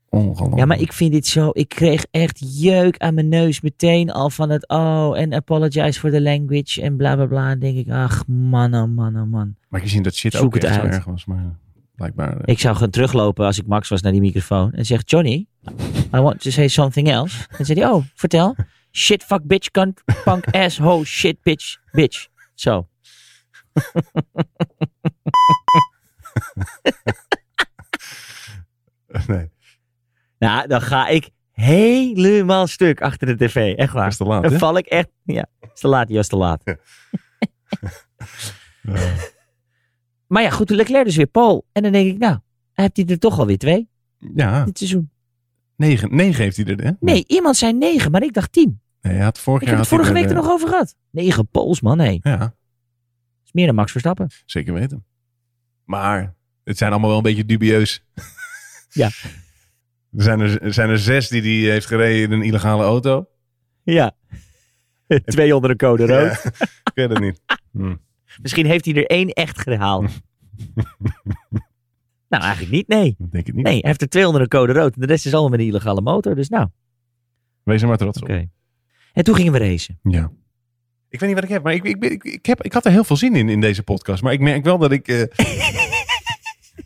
Ongelooflijk.
Ja, maar ik vind dit zo... Ik kreeg echt jeuk aan mijn neus meteen al van het... Oh, en apologize for the language en bla, bla, bla. Dan denk ik, ach, man, oh, man, oh, man.
Maar je ziet dat shit
Zoek
ook
het
echt zo
uit.
erg was. Maar blijkbaar... eh,
Ik zou gaan teruglopen als ik Max was naar die microfoon. En zeg, Johnny, I want to say something else. En zei hij, oh, vertel. Shit, fuck, bitch, cunt, punk, ass, ho, shit, bitch, bitch. Zo.
nee,
Nou, dan ga ik helemaal stuk achter de tv. Echt
dat
waar.
is te laat,
Dan
hè?
val ik echt. Ja, is te laat, die was te laat.
Ja.
Maar ja, goed, Leclerc dus weer Paul. En dan denk ik, nou, heeft hij er toch alweer twee
ja,
dit seizoen?
negen, negen heeft hij er, hè?
Nee, iemand zei negen, maar ik dacht tien.
Nee, hij had vorig
Ik
jaar...
heb het
had eh,
vorige
hij
week er nog over gehad. Negen Pools, man, hé.
eh, Ja,
is meer dan Max Verstappen.
zeker weten. Maar Het zijn allemaal wel een beetje dubieus.
Ja.
Er zijn er, er zijn er zes die die heeft gereden in een illegale auto.
Ja. Twee onder een code rood.
Ja, ik weet het niet. Hm.
Misschien heeft hij er één echt gehaald. nou, eigenlijk niet, nee.
Ik denk het niet.
Nee, hij heeft er twee onder een code rood. En de rest is allemaal met een illegale motor. Dus nou,
Wees er maar trots
oké. En toen gingen we racen.
op. Ja. Ik weet niet wat ik heb, maar ik, ik, ben- ik, ik, heb, ik had er heel veel zin in in deze podcast. Maar ik merk wel dat ik. eh,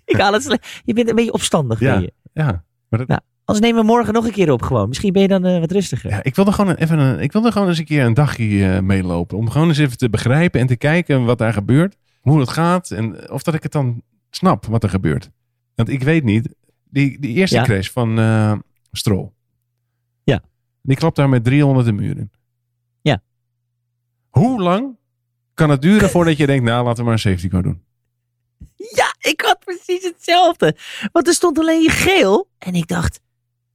Ik haal het sle- Je bent een beetje opstandig.
Ja.
ben je.
ja, maar dat,
Nou. Als nemen we morgen nog een keer op gewoon. Misschien ben je dan eh, wat rustiger.
ja, ik wilde gewoon een- even een, ik wilde gewoon eens een keer een dagje eh, meelopen. Om gewoon eens even te begrijpen en te kijken wat daar gebeurt. Hoe het gaat en of dat ik het dan snap wat er gebeurt. Want ik weet niet. Die, die eerste
Ja.
crash van eh Strol.
Ja.
Die klapt daar met 300 de muur in.
Ja.
Hoe lang kan het duren voordat je denkt, nou laten we maar een safety car doen?
Ja, ik had precies hetzelfde. Want er stond alleen geel. En ik dacht,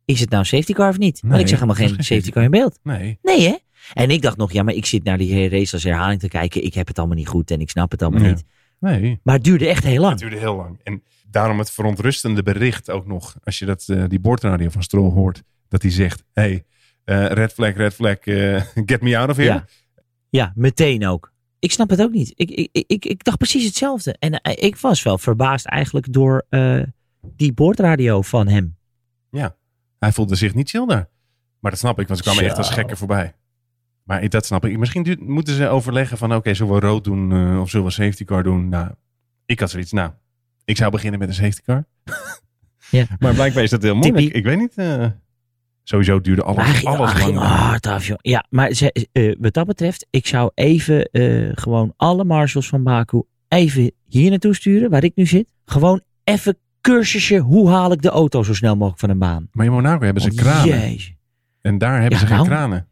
is het nou een safety car of niet? Want
Nee,
ik zag helemaal
het
geen
was
safety,
geen
car in beeld.
Nee.
Nee, hè? En ik dacht nog, ja, maar ik zit naar die hele race als herhaling te kijken. Ik heb het allemaal niet goed en ik snap het allemaal
Ja.
niet.
Nee.
Maar het duurde echt heel
Het
lang.
duurde heel lang. En daarom het verontrustende bericht ook nog. Als je dat, eh, die boordradio van Stroll hoort. Dat hij zegt, hey, eh, red flag, red flag, eh, get me out of here.
Ja. Ja, meteen ook. Ik snap het ook niet. Ik, ik, ik, ik dacht precies hetzelfde. En eh, ik was wel verbaasd eigenlijk door eh, die boordradio van hem.
Hij voelde zich niet chill daar. Maar dat snap ik, want ze kwamen
Zo.
echt als gekken voorbij. Maar ik- dat snap ik. Misschien duurt- moeten ze overleggen van, oké, zullen we rood doen eh, of zullen we een safety car doen? Nou, ik had zoiets, nou, ik zou beginnen met een safety car.
Ja.
Maar blijkbaar is dat heel moeilijk.
Typie.
Ik weet niet. eh, sowieso duurde
Maar hij
alles,
ging-
alles
hij ging
lang.
hard af, joh. Ja, maar ze, eh, wat dat betreft, ik zou even eh, gewoon alle marshals van Baku even hier naartoe sturen, waar ik nu zit. Gewoon even cursusje, hoe haal ik de auto zo snel mogelijk van een baan?
Maar in Monaco hebben ze
Want
kranen.
jeetje.
En daar hebben
Ja,
ze geen
nou.
kranen.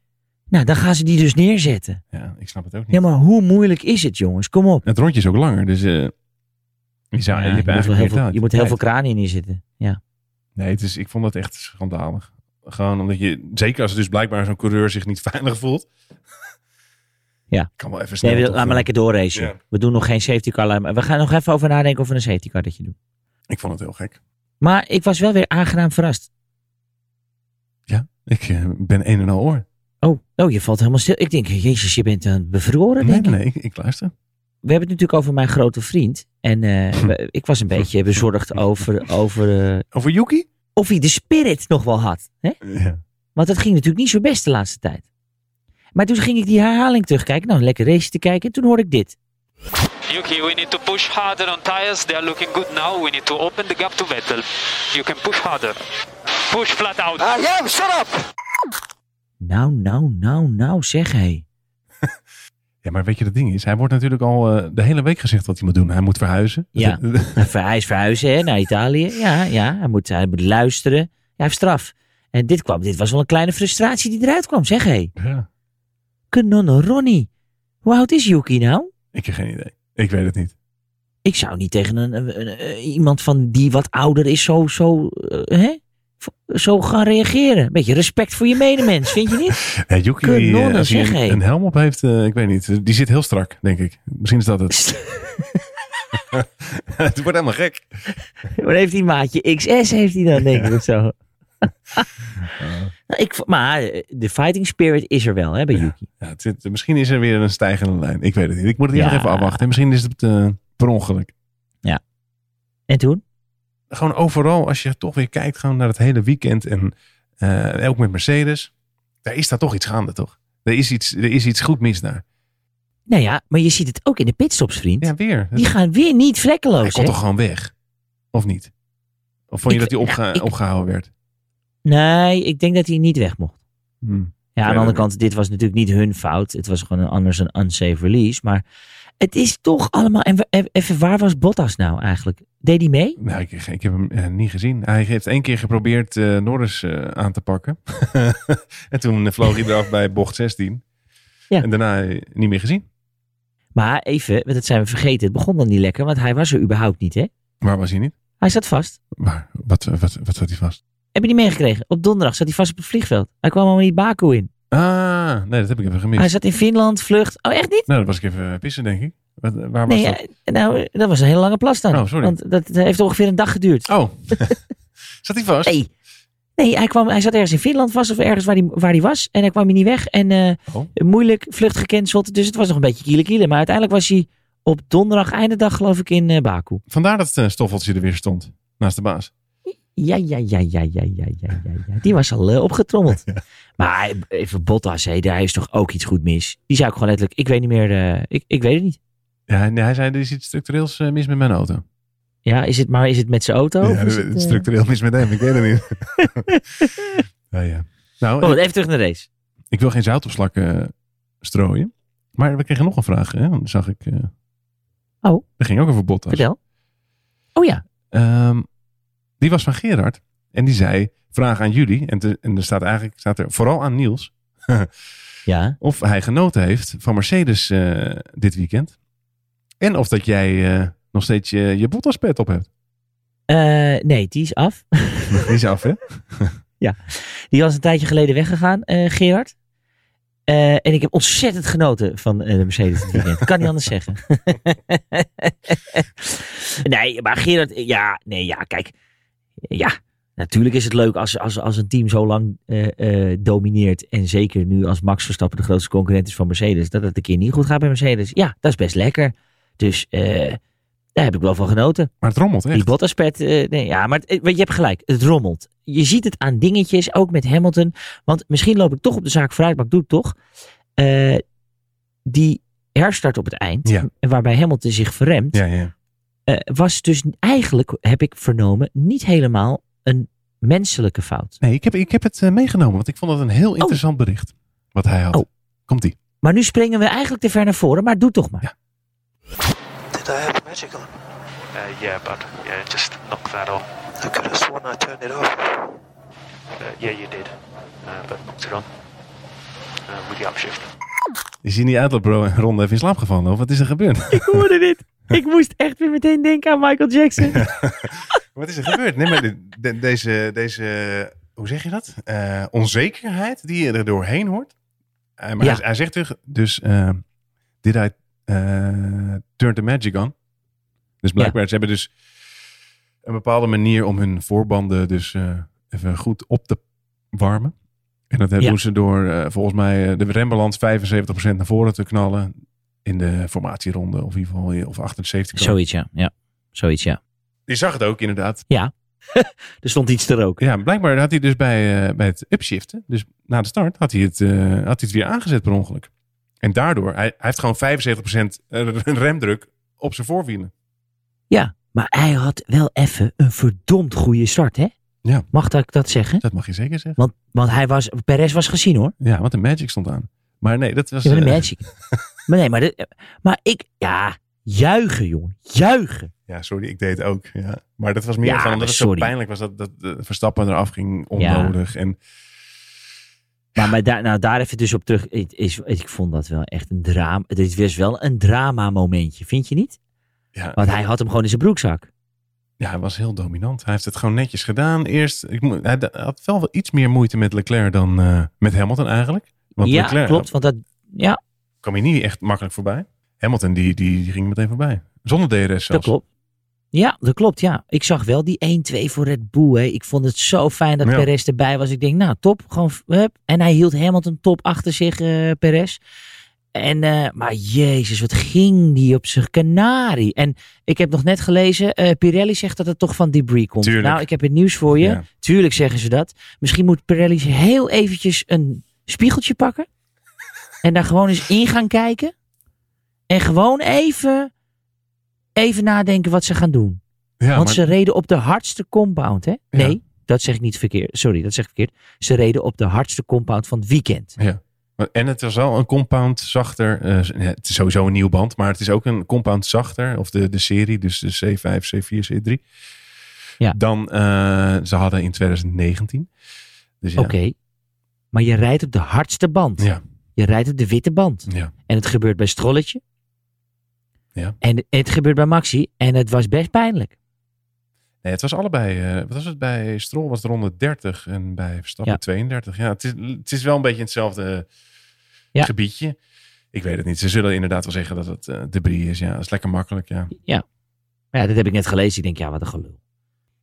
Nou, dan gaan ze die dus neerzetten.
Ja, ik snap het ook niet.
Ja, maar hoe moeilijk is het, jongens? Kom op.
Het rondje is ook langer, dus... eh, je, zou,
Ja,
je, hebt
je, moet wel heel
eigenlijk meer
veel,
tijd.
je moet heel veel kranen in zitten. Ja.
Nee, het is, ik vond dat echt schandalig. Gewoon omdat je... Zeker als dus blijkbaar zo'n coureur zich niet veilig voelt.
Ja.
Ik kan wel even snel...
Nee,
toch,
laat maar
eh,
lekker doorracen.
Ja.
We doen nog geen safety car. laat maar- We gaan nog even over nadenken of we een safety car dat je doet.
Ik vond het heel gek.
Maar ik was wel weer aangenaam verrast.
Ik eh, ben een en al oor.
Oh, oh, je valt helemaal stil. Ik denk, jezus, je bent aan bevroren,
Nee,
denk
nee,
ik.
nee, ik, ik luister.
We hebben het natuurlijk over mijn grote vriend. En eh,
Hm.
we- ik was een beetje bezorgd over, over eh,
Over Yuki?
of hij de spirit nog wel had. Hè?
Ja.
Want dat ging natuurlijk niet zo best de laatste tijd. Maar toen ging ik die herhaling terugkijken. Nou, een lekker race te kijken. En toen hoorde ik dit.
Yuki, we need to push harder on tires. They are looking good now. We need to open the gap to Vettel. You can push harder. Push flat out.
Ah.
Nou, nou, nou, nou, zeg hé.
Ja, maar weet je, dat ding is, hij wordt natuurlijk al eh, de hele week gezegd wat hij moet doen. Hij moet verhuizen.
Ja. Nou, ver- Hij is verhuizen hè, naar Italië. Ja, ja hij, moet, hij moet luisteren. Ja, hij heeft straf. En dit, kwam, dit was wel een kleine frustratie die eruit kwam. Zeg hé.
ja.
Kanon Ronnie. Hoe oud is Yuki nou?
Ik heb geen idee. Ik weet het niet.
Ik zou niet tegen een, een- een- een- iemand van die wat ouder is zo, zo, eh, hè? V- zo gaan reageren. Beetje respect voor je medemens, vind je niet?
Ja, Yuki,
Kanonnen,
die, eh, als hij
zeg, hé.
een, een helm op heeft, eh, ik weet niet. Die zit heel strak, denk ik. Misschien is dat het. het wordt helemaal gek.
Wat heeft die maatje? XS heeft hij dan, denk ik, of zo. Nou, ik, v- maar eh, de fighting spirit is er wel, hè, bij
Ja.
Yuki.
Ja, het zit- misschien is er weer een stijgende lijn. Ik weet het niet. Ik moet het hier
Ja.
nog even afwachten. Misschien is het eh, per ongeluk.
En toen?
Gewoon overal, als je toch weer kijkt gewoon naar het hele weekend. En eh, ook met Mercedes. Daar is daar toch iets gaande, toch? Er is iets, er is iets goed mis daar.
Nou ja, maar je ziet het ook in de pitstops, vriend.
Ja, weer.
Die gaan weer niet
hij
vlekkeloos,
kon
hè?
toch gewoon weg? Of niet? Of vond je
Ik-
dat hij opge-
ja, ik-
opgehouden werd?
Nee, ik denk dat hij niet weg mocht.
Hm.
Ja, aan
weet
de andere
het
kant, dit was natuurlijk niet hun fout. Het was gewoon een, anders een unsafe release. Maar het is toch allemaal... En wa- e- even, waar was Bottas nou eigenlijk? Deed hij mee?
Nou, ik, ik heb hem eh, niet gezien. Hij heeft één keer geprobeerd eh, Norris eh, aan te pakken. en toen eh, vloog hij eraf bij bocht 16.
Ja.
En daarna eh, niet meer gezien.
Maar even, want dat zijn we vergeten. Het begon dan niet lekker, want hij was er überhaupt niet, hè?
Waar was hij niet?
Hij zat vast.
Waar? Wat, eh, wat, wat zat hij vast?
Heb je niet meegekregen? Op donderdag zat hij vast op het vliegveld. Hij kwam allemaal niet Baku in.
Ah, nee, dat heb ik even gemist.
Hij zat in Finland, vlucht. Oh, echt niet?
Nou, dat was ik even eh, pissen, denk ik. Wat- Waar was
Nee,
dat?
eh, nou, dat was een hele lange plas dan.
Oh, sorry.
Want dat eh, heeft ongeveer een dag geduurd.
Oh, zat hij vast?
Nee. Nee, hij, kwam, hij zat ergens in Finland vast of ergens waar hij, waar hij was. En hij kwam hier niet weg. En eh,
Oh.
moeilijk, vlucht gecanceld. Dus het was nog een beetje kiele kiele. Maar uiteindelijk was hij op donderdag, eindedag geloof ik, in eh, Baku.
Vandaar dat eh, Stoffeltje er weer stond. Naast de baas.
Ja, ja, ja, ja, ja, ja, ja, ja, ja. Die was al eh, opgetrommeld. Maar hij- even Bottas, hé, daar is toch ook iets goed mis. Die zou ik gewoon letterlijk, ik weet niet meer, eh, ik, ik weet het niet.
Ja, hij- nee, hij zei, er is iets structureels eh, mis met mijn auto.
Ja, is het maar, is het met zijn auto? Of
ja,
is het, eh,
structureel mis met hem, ik weet het niet. ja, ja. Nou,
Oh, even terug naar de race.
ik wil geen zout op slak eh, strooien. Maar we kregen nog een vraag, hè? want zag ik. eh.
Oh.
Dat ging ook over Bottas.
Vertel. Oh ja.
Ehm, die was van Gerard. En die zei, vraag aan jullie. En, te- en er staat eigenlijk, staat er vooral aan Niels.
Ja.
Of hij genoten heeft van Mercedes eh, dit weekend. En of dat jij eh, nog steeds je, je Bottas-pet op hebt.
Eh, nee, die is af.
Die is af, hè?
Die was een tijdje geleden weggegaan, eh, Gerard. Eh, en ik heb ontzettend genoten van eh, de Mercedes dit weekend. Kan niet anders zeggen. nee, maar Gerard, eh, ja, nee, ja, kijk. Ja, natuurlijk is het leuk als, als, als een team zo lang eh, eh, domineert. En zeker nu als Max Verstappen de grootste concurrent is van Mercedes. Dat het een keer niet goed gaat bij Mercedes. Ja, dat is best lekker. Dus eh, daar heb ik wel van genoten.
Maar het rommelt, echt.
Die Bottaspet, nee, ja, maar het- eh, je hebt gelijk, het rommelt. Je ziet het aan dingetjes, ook met Hamilton. Want misschien loop ik toch op de zaak vooruit, maar ik doe het toch. Eh, die herstart op het eind,
Ja.
waarbij Hamilton zich verremt,
Ja, ja.
eh, was dus eigenlijk, heb ik vernomen, niet helemaal een menselijke fout.
Nee, ik heb, ik heb het eh, meegenomen, want ik vond het een heel interessant bericht. Wat hij had.
Oh.
Komt-ie.
Maar nu springen we eigenlijk te ver naar voren, maar doe toch maar.
Did I have magic on?
Uh, yeah, but yeah, just knock that off.
I could have sworn I turned it off.
Uh, yeah, you did, uh, but knocked it on uh, with the upshift.
Is hij niet uit op bro- ronde even in slaap gevallen? Of wat is er gebeurd?
Ik hoorde dit. Ik moest echt weer meteen denken aan Michael Jackson.
wat is er gebeurd? Nee, maar de- de- deze, deze, hoe zeg je dat? Eh, onzekerheid die je er doorheen hoort. Eh, maar
Ja.
hij, hij zegt terug, dus eh, did I eh turn the magic on? Dus blijkbaar, ze hebben dus een bepaalde manier om hun voorbanden dus eh, even goed op te warmen. En dat
Ja.
doen ze door eh, volgens mij eh, de rembalans 75% naar voren te knallen in de formatieronde. Of in ieder geval, eh, of 78.
Zoiets, ja. ja. Zoiets, ja.
Je zag het ook inderdaad.
Er stond iets te roken.
Ja, blijkbaar had hij dus bij, eh, bij het upshiften, dus na de start, had hij, het, eh, had hij het weer aangezet per ongeluk. En daardoor, hij, hij heeft gewoon 75% remdruk op zijn voorwielen.
Ja, maar hij had wel even een verdomd goede start, hè?
Ja.
Mag dat ik dat zeggen?
Dat mag je zeker zeggen.
Want, want hij was, Perez was gezien hoor.
Ja, want de Magic stond aan. Maar nee, dat was...
Ja, maar de
eh,
Magic. maar nee, maar, de- maar ik, ja, juichen jongen, juichen.
ja, sorry, ik deed het ook. Ja. Maar dat was meer
Ja,
van omdat
maar
het zo
sorry.
pijnlijk was dat, dat eh, Verstappen eraf ging onnodig. En
Maar, maar daar, nou, daar even dus op terug. Het is, ik vond dat wel echt een drama. Dit was wel een drama momentje, vind je niet?
ja,
Want hij had hem gewoon in zijn broekzak.
ja, hij was heel dominant. Hij heeft het gewoon netjes gedaan. Eerst, ik, moet- hij had wel wel iets meer moeite met Leclerc dan eh, met Hamilton eigenlijk. Want
ja,
Leclerc,
klopt. Want dat, ja,
kwam hij niet echt makkelijk voorbij. Hamilton die, die, die ging meteen voorbij. Zonder DRS zelfs.
dat klopt. Ja, dat klopt, ja. Ik zag wel die 1-2 voor Red Bull. Hè. Ik vond het zo fijn dat
Ja.
Perez erbij was. Ik denk, nou, top. Gewoon, f- hup. En hij hield Hamilton top achter zich, eh Perez. En, eh, maar jezus, wat ging die op zijn kanarie. En ik heb nog net gelezen, eh, Pirelli zegt dat het toch van debris komt.
Tuurlijk.
Nou, ik heb het nieuws voor je.
Ja.
Tuurlijk zeggen ze dat. Misschien moet Pirelli heel eventjes een spiegeltje pakken. en daar gewoon eens in gaan kijken. En gewoon even, even nadenken wat ze gaan doen.
Ja,
Want
maar,
ze reden op de hardste compound, hè? Nee, dat zeg ik niet verkeerd. Sorry, dat zeg ik verkeerd. Ze reden op de hardste compound van het weekend.
maar- en het was wel een compound zachter. eh, ja, het is sowieso een nieuw band, maar het is ook een compound zachter. Of de, de serie, dus de C5, C4, C3.
Ja.
Dan eh, ze hadden in 2019. Dus ja.
Oké. Maar je rijdt op de hardste band.
Ja,
Je rijdt op de witte band.
ja.
En het gebeurt bij Strolletje.
Ja.
En en het gebeurt bij Maxi. En het was best pijnlijk.
Nee, het was allebei. eh, wat was het bij Stroll? Was het ronde 30 en bij Verstappen
Ja.
32. Ja, het is, het is wel een beetje hetzelfde
Ja.
eh, gebiedje. Ik weet het niet. Ze zullen inderdaad wel zeggen dat het eh, debris is. Ja, dat is lekker makkelijk. Ja.
Maar ja, dat heb ik net gelezen. Ik denk, ja, wat een gelul.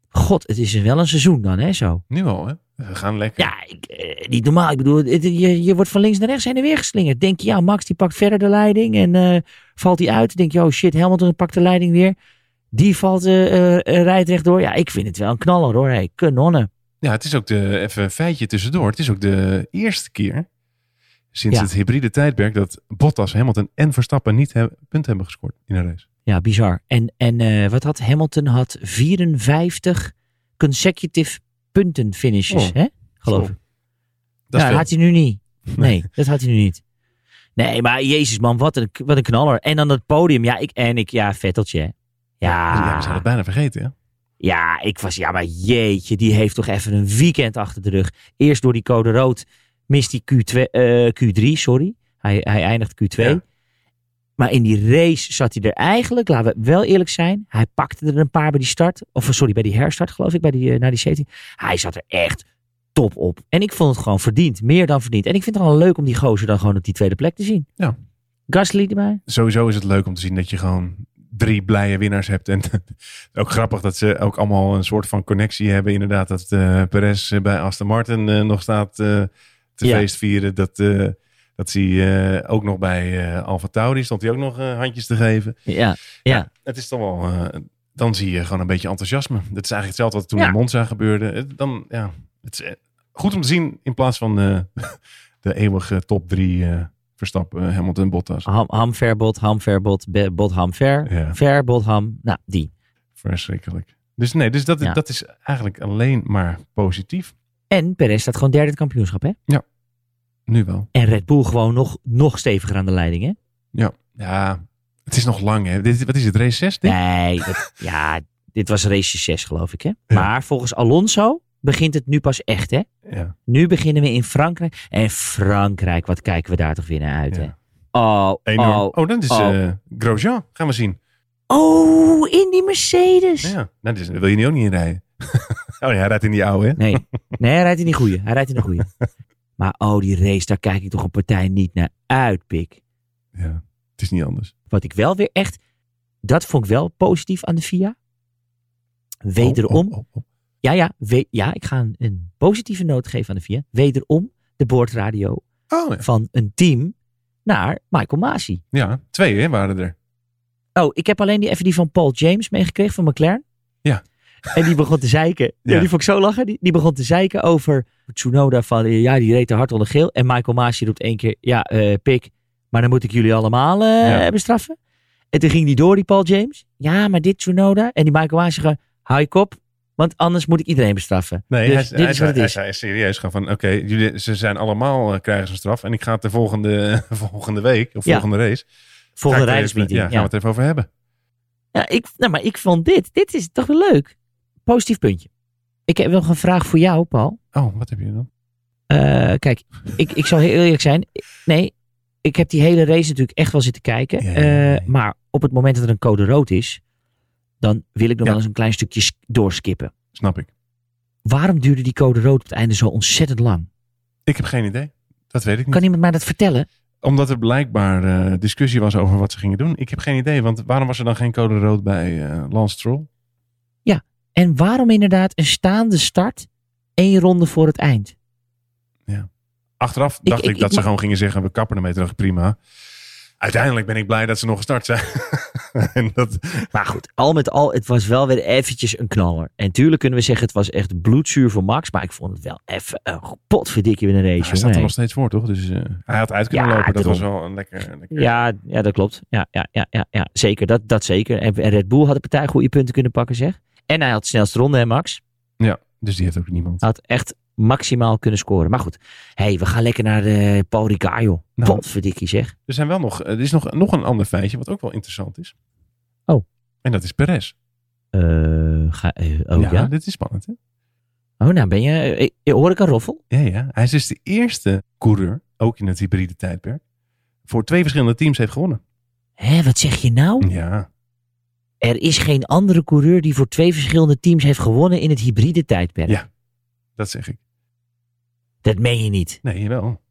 God, het is wel een seizoen dan, hè, zo.
Nu al, hè? We gaan lekker.
Ja, ik, eh, niet normaal. Ik bedoel, het- je, je wordt van links naar rechts heen en weer geslingerd. Denk je, ja, Max die pakt verder de leiding en eh, valt hij uit. Denk je, oh shit, Hamilton pakt de leiding weer. Die valt, eh eh, eh, rijdt rechtdoor. Ja, ik vind het wel een knaller hoor. Hey, kanonnen.
Ja, het is ook de, even een feitje tussendoor. Het is ook de eerste keer sinds
Ja.
het hybride tijdperk dat Bottas, Hamilton en Verstappen niet hebben punt hebben gescoord in een race.
Ja, bizar. En, en eh, wat had Hamilton? Had 54 consecutive punten finishes,
Oh,
hè? Geloof
Zo.
ik.
Dat
ja,
is veel.
Nou, dat had hij nu niet. Nee, dat had hij nu niet. Nee, maar jezus man, wat een, wat een knaller. En dan dat podium. Ja, ik, en ik, ja, Vetteltje. hè. Ah.
Ja, we zijn het bijna vergeten. Hè?
Ja, ik was, ja, maar jeetje, die heeft toch even een weekend achter de rug. Eerst door die code rood mist hij Q2, eh, Q3, sorry. Hij, hij eindigt Q2.
Ja.
Maar in die race zat hij er eigenlijk, laten we wel eerlijk zijn, hij pakte er een paar bij die start. Of sorry, bij die herstart geloof ik, bij die, eh, na die safety. Hij zat er echt top op. En ik vond het gewoon verdiend, meer dan verdiend. En ik vind het gewoon leuk om die gozer dan gewoon op die tweede plek te zien.
Ja.
Gasly erbij.
Sowieso is het leuk om te zien dat je gewoon drie blije winnaars hebt. En ook grappig dat ze ook allemaal een soort van connectie hebben. Inderdaad, dat eh Perez bij Aston Martin eh, nog staat eh, te
Ja.
feestvieren. Dat, eh, dat ze eh, ook nog bij eh Alfa Tauri stond hij ook nog eh, handjes te geven.
Ja,
Het is toch wel. eh, dan zie je gewoon een beetje enthousiasme. Dat is eigenlijk hetzelfde wat toen
Ja.
in Monza gebeurde. Het- Dan, ja, het is eh, goed om te zien in plaats van eh, de eeuwige top drie eh Verstappen, eh, Hamilton, Bottas.
ham, hamverbod, hamverbod, be- bot hamver,
Ja.
ver, bot ham. Nou, die.
Verschrikkelijk. Dus nee, dus dat,
Ja.
dat is eigenlijk alleen maar positief.
En Perez staat gewoon derde in het kampioenschap, hè?
Nu wel.
En Red Bull gewoon nog, nog steviger aan de leiding, hè?
Ja, het is nog lang hè. Dit, wat is het, race 6? Dit?
Nee, dat- ja, dit was race 6, geloof ik, hè? Maar volgens Alonso begint het nu pas echt, hè?
Ja.
Nu beginnen we in Frankrijk. En Frankrijk, wat kijken we daar toch weer naar uit, hè?
ja.
Oh,
Enorm.
oh,
Oh, dan is
oh.
eh, Grosjean. Gaan we zien.
oh, in die Mercedes.
Ja, nou, dus, daar wil je nu ook niet in rijden. oh ja, hij rijdt in die oude hè.
Nee, nee, hij rijdt in die goeie. Hij rijdt in de goeie. Maar oh, die race, daar kijk ik toch een partij niet naar uit, pik.
Ja, het is niet anders.
Wat ik wel weer echt, dat vond ik wel positief aan de FIA. Wederom,
Oh, oh, oh,
ja, ja, we- ja, ik ga een, een positieve noot geven aan de FIA. Wederom de boordradio
oh. Oh, ja.
van een team naar Michael Masi.
ja, twee hè, waren er.
Oh, ik heb alleen die, even die van Paul James meegekregen van McLaren.
Ja.
En die begon te zeiken. Ja.
Ja.
die vond ik zo lachen. Die, die begon te zeiken over Tsunoda van, eh, ja, die reed te hard onder geel. En Michael Masi roept één keer, ja, eh, pik, maar dan moet ik jullie allemaal eh,
Ja.
bestraffen. En toen ging die door, die Paul James. Ja, maar dit Tsunoda. En die Michael Masi gewoon, hou je kop, want anders moet ik iedereen bestraffen.
Nee,
Dus
hij,
dit
hij,
is wat
zei-
het
hij
is.
zei serieus gaan van, oké, jullie- ze zijn allemaal, eh, krijgen ze een straf. En ik ga het de volgende, volgende week, of
Ja.
volgende race. ga
Volgende
ik er even-
rijdersmeeting.
eh, Ja, gaan we het even over hebben.
Ja, ik, nou, maar ik vond dit, dit is toch wel leuk. Positief puntje. Ik heb wel een vraag voor jou, Paul.
Oh, wat heb je dan?
Eh, kijk, ik, ik zal heel eerlijk zijn. Nee, ik heb die hele race natuurlijk echt wel zitten kijken.
Ja, ja, ja, ja.
Eh, maar op het moment dat er een code rood is, dan wil ik nog
Ja.
wel eens een klein stukje sk- doorskippen.
Snap ik.
Waarom duurde die code rood op het einde zo ontzettend lang?
Ik heb geen idee. Dat weet ik niet.
Kan iemand mij dat vertellen?
Omdat er blijkbaar eh, discussie was over wat ze gingen doen. Ik heb geen idee, want waarom was er dan geen code rood bij eh Lance Stroll?
En waarom inderdaad een staande start één ronde voor het eind?
Achteraf dacht ik,
ik- ik
dat ze
mag-
gewoon gingen zeggen, we kappen ermee terug, prima. Uiteindelijk ben ik blij dat ze nog gestart zijn. en dat,
Maar goed, al met al, het was wel weer eventjes een knaller. En tuurlijk kunnen we zeggen, het was echt bloedzuur voor Max. Maar ik vond het wel even een potverdikkie in een race.
hij staat
jongen.
er nog steeds voor, toch? Dus eh, hij had uit kunnen
Ja,
lopen. Dat was
daarom.
wel een lekker... een lekker-
Ja, ja dat klopt. Ja, ja, ja, ja, ja. zeker. Dat, dat zeker. En en Red Bull had de partij goede punten kunnen pakken, zeg. En hij had de snelste ronde, hè, Max?
ja, dus die heeft ook niemand.
Hij had echt maximaal kunnen scoren. Maar goed, hey, we gaan lekker naar eh Paul Ricard, joh.
Nou.
Potverdikkie, zeg.
Er, zijn wel nog, eh, er is nog, nog een ander feitje wat ook wel interessant is.
Oh.
En dat is Perez.
Eh, ga, eh, oh, ja.
dit is spannend, hè?
Oh, nou ben je... eh, eh, hoor ik een roffel?
Ja, ja. Hij is dus de eerste coureur, ook in het hybride tijdperk, voor twee verschillende teams heeft gewonnen.
Hé, wat zeg je
Hm.
nou?
Ja.
Er is geen andere coureur die voor twee verschillende teams heeft gewonnen in het hybride tijdperk.
Ja. Dat zeg ik.
Dat meen je niet.
Nee, wel.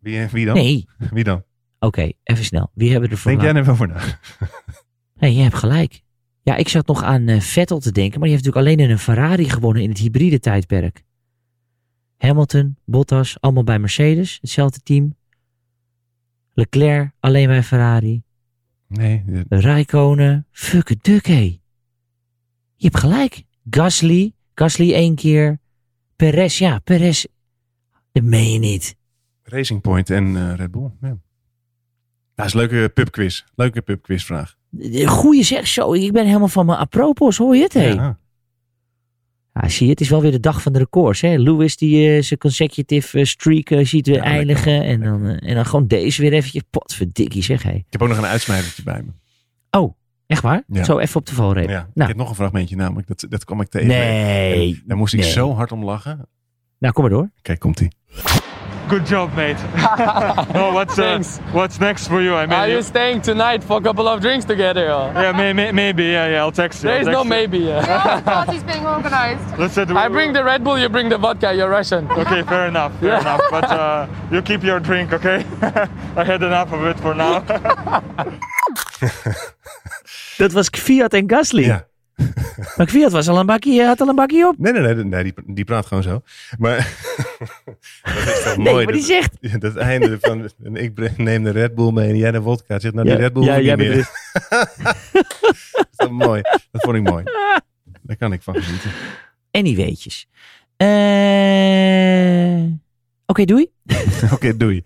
Wie, wie dan?
Nee.
Wie dan?
Oké, even snel. Wie hebben we ervoor?
Denk
laten-
jij er wel voor na?
Nee, je hebt gelijk. Ja, ik zat nog aan eh, Vettel te denken, maar die heeft natuurlijk alleen in een Ferrari gewonnen in het hybride tijdperk. Hamilton, Bottas, allemaal bij Mercedes, hetzelfde team. Leclerc, alleen bij Ferrari.
Nee, dit-
Rijkonen, fuck it, duck, hé. Je hebt gelijk. Gasly, Gasly één keer. Perez, ja, Perez. Dat meen je niet.
Racing Point en eh, Red Bull. Ja. Dat is een leuke pubquiz. Leuke pubquizvraag.
Goeie zeg zo, ik ben helemaal van mijn apropos, hoor je het, hé?
Ja.
Ja, zie je, het is wel weer de dag van de records. Hè? Lewis die eh, zijn consecutive eh, streak eh, ziet weer
Ja, lekker.
eindigen. En, dan, eh, en dan gewoon deze weer eventjes. Potverdikkie zeg hé. Oh,
Ik heb ook nog een uitsmijdertje bij me.
Echt waar?
Ja.
Zo even op de valreep.
Ja. Ik
Nou.
heb nog een fragmentje namelijk. Dat, dat kwam ik tegen.
nee.
Daar moest ik
Nee.
zo hard om lachen.
Nou, kom maar door.
Kijk, komt ie.
Good job, mate. oh, what's uh,
Thanks.
what's next for you? I mean,
Are
you-
you staying tonight for a couple of drinks together? Or?
yeah, may, may, maybe. Yeah, yeah. I'll text you.
There
I'll
is no
text you.
maybe. yeah.
The party's being organised.
Listen, we-
I bring the Red Bull, you bring the vodka. You're Russian.
Okay, fair enough. Fair enough. But uh, you keep your drink, okay? I had enough of it for now.
Dat was Kviat en Gasly.
Ja.
Maar Kviat was al een bakkie, eh, had al een bakkie op.
Nee, nee, nee. nee die, die praat gewoon zo. Maar dat is toch
Nee,
mooi.
maar die
dat-
zegt...
Ja, dat einde van en ik breng- neem de Red Bull mee en jij de vodka. Het Zegt nou, die Red Bull hoef ik niet meer. Dat is toch mooi. Dat vond ik mooi. Daar kan ik van genieten.
En die weetjes. Eh, Oké, doei.
Oké, doei.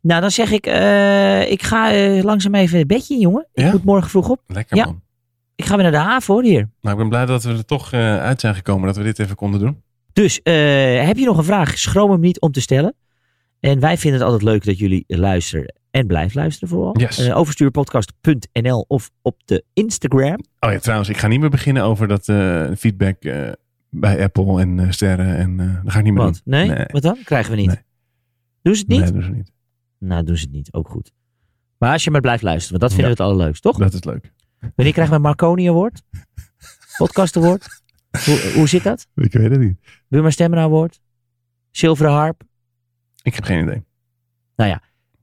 Nou, dan zeg ik... eh, ik ga eh, langzaam even het bedje in, jongen. Ik
Ja?
moet morgen vroeg op.
Lekker
Ja.
man.
Ik ga weer naar de haven, hoor, hier.
Nou, ik ben blij dat we er toch eh, uit zijn gekomen. Dat we dit even konden doen.
Dus eh, heb je nog een vraag? Schroom hem niet om te stellen. En wij vinden het altijd leuk dat jullie luisteren en blijven luisteren vooral.
Yes.
Eh, overstuurpodcast.nl of op de Instagram.
Oh ja, trouwens. Ik ga niet meer beginnen over dat eh, feedback eh, bij Apple en eh, sterren. En eh dat ga ik niet meer
Wat?
doen.
Nee? Wat dan? Krijgen we niet.
Nee.
Doen ze het niet?
Nee, dat is niet.
Nou, doen ze het niet. Ook goed. Maar als je maar blijft luisteren, want dat vinden we het allerleukst, toch?
Dat is leuk.
Wanneer krijgen we een Marconi Award? Podcast Award? hoe, hoe zit dat?
Ik weet het niet.
Wilma Stemmen Award? Zilveren Harp?
Ik heb geen idee.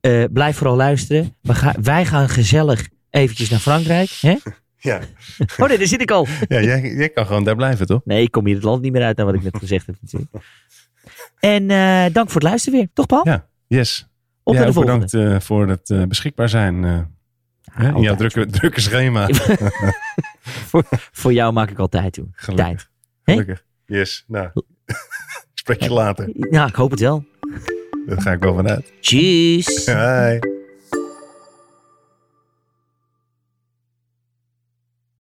Eh, blijf vooral luisteren. We gaan, wij gaan gezellig eventjes naar Frankrijk. Hè?
Ja,
Oh nee, daar zit ik al.
ja jij, jij kan gewoon daar blijven, toch?
Nee, ik kom hier het land niet meer uit naar wat ik net gezegd heb natuurlijk. En eh, dank voor het luisteren weer. Toch Paul?
Ja. Yes.
Op
ja,
naar de
ook
volgende. Ah,
bedankt eh, voor het eh, beschikbaar zijn. eh, hè, in jouw
altijd.
drukke, drukke schema.
Voor jou maak ik altijd toe. Tijd.
Gelukkig. Gelukkig. Yes. Nou, ik spreek je later.
Nou, ik hoop het wel.
Daar ga ik wel vanuit.
Tjus.
Hi.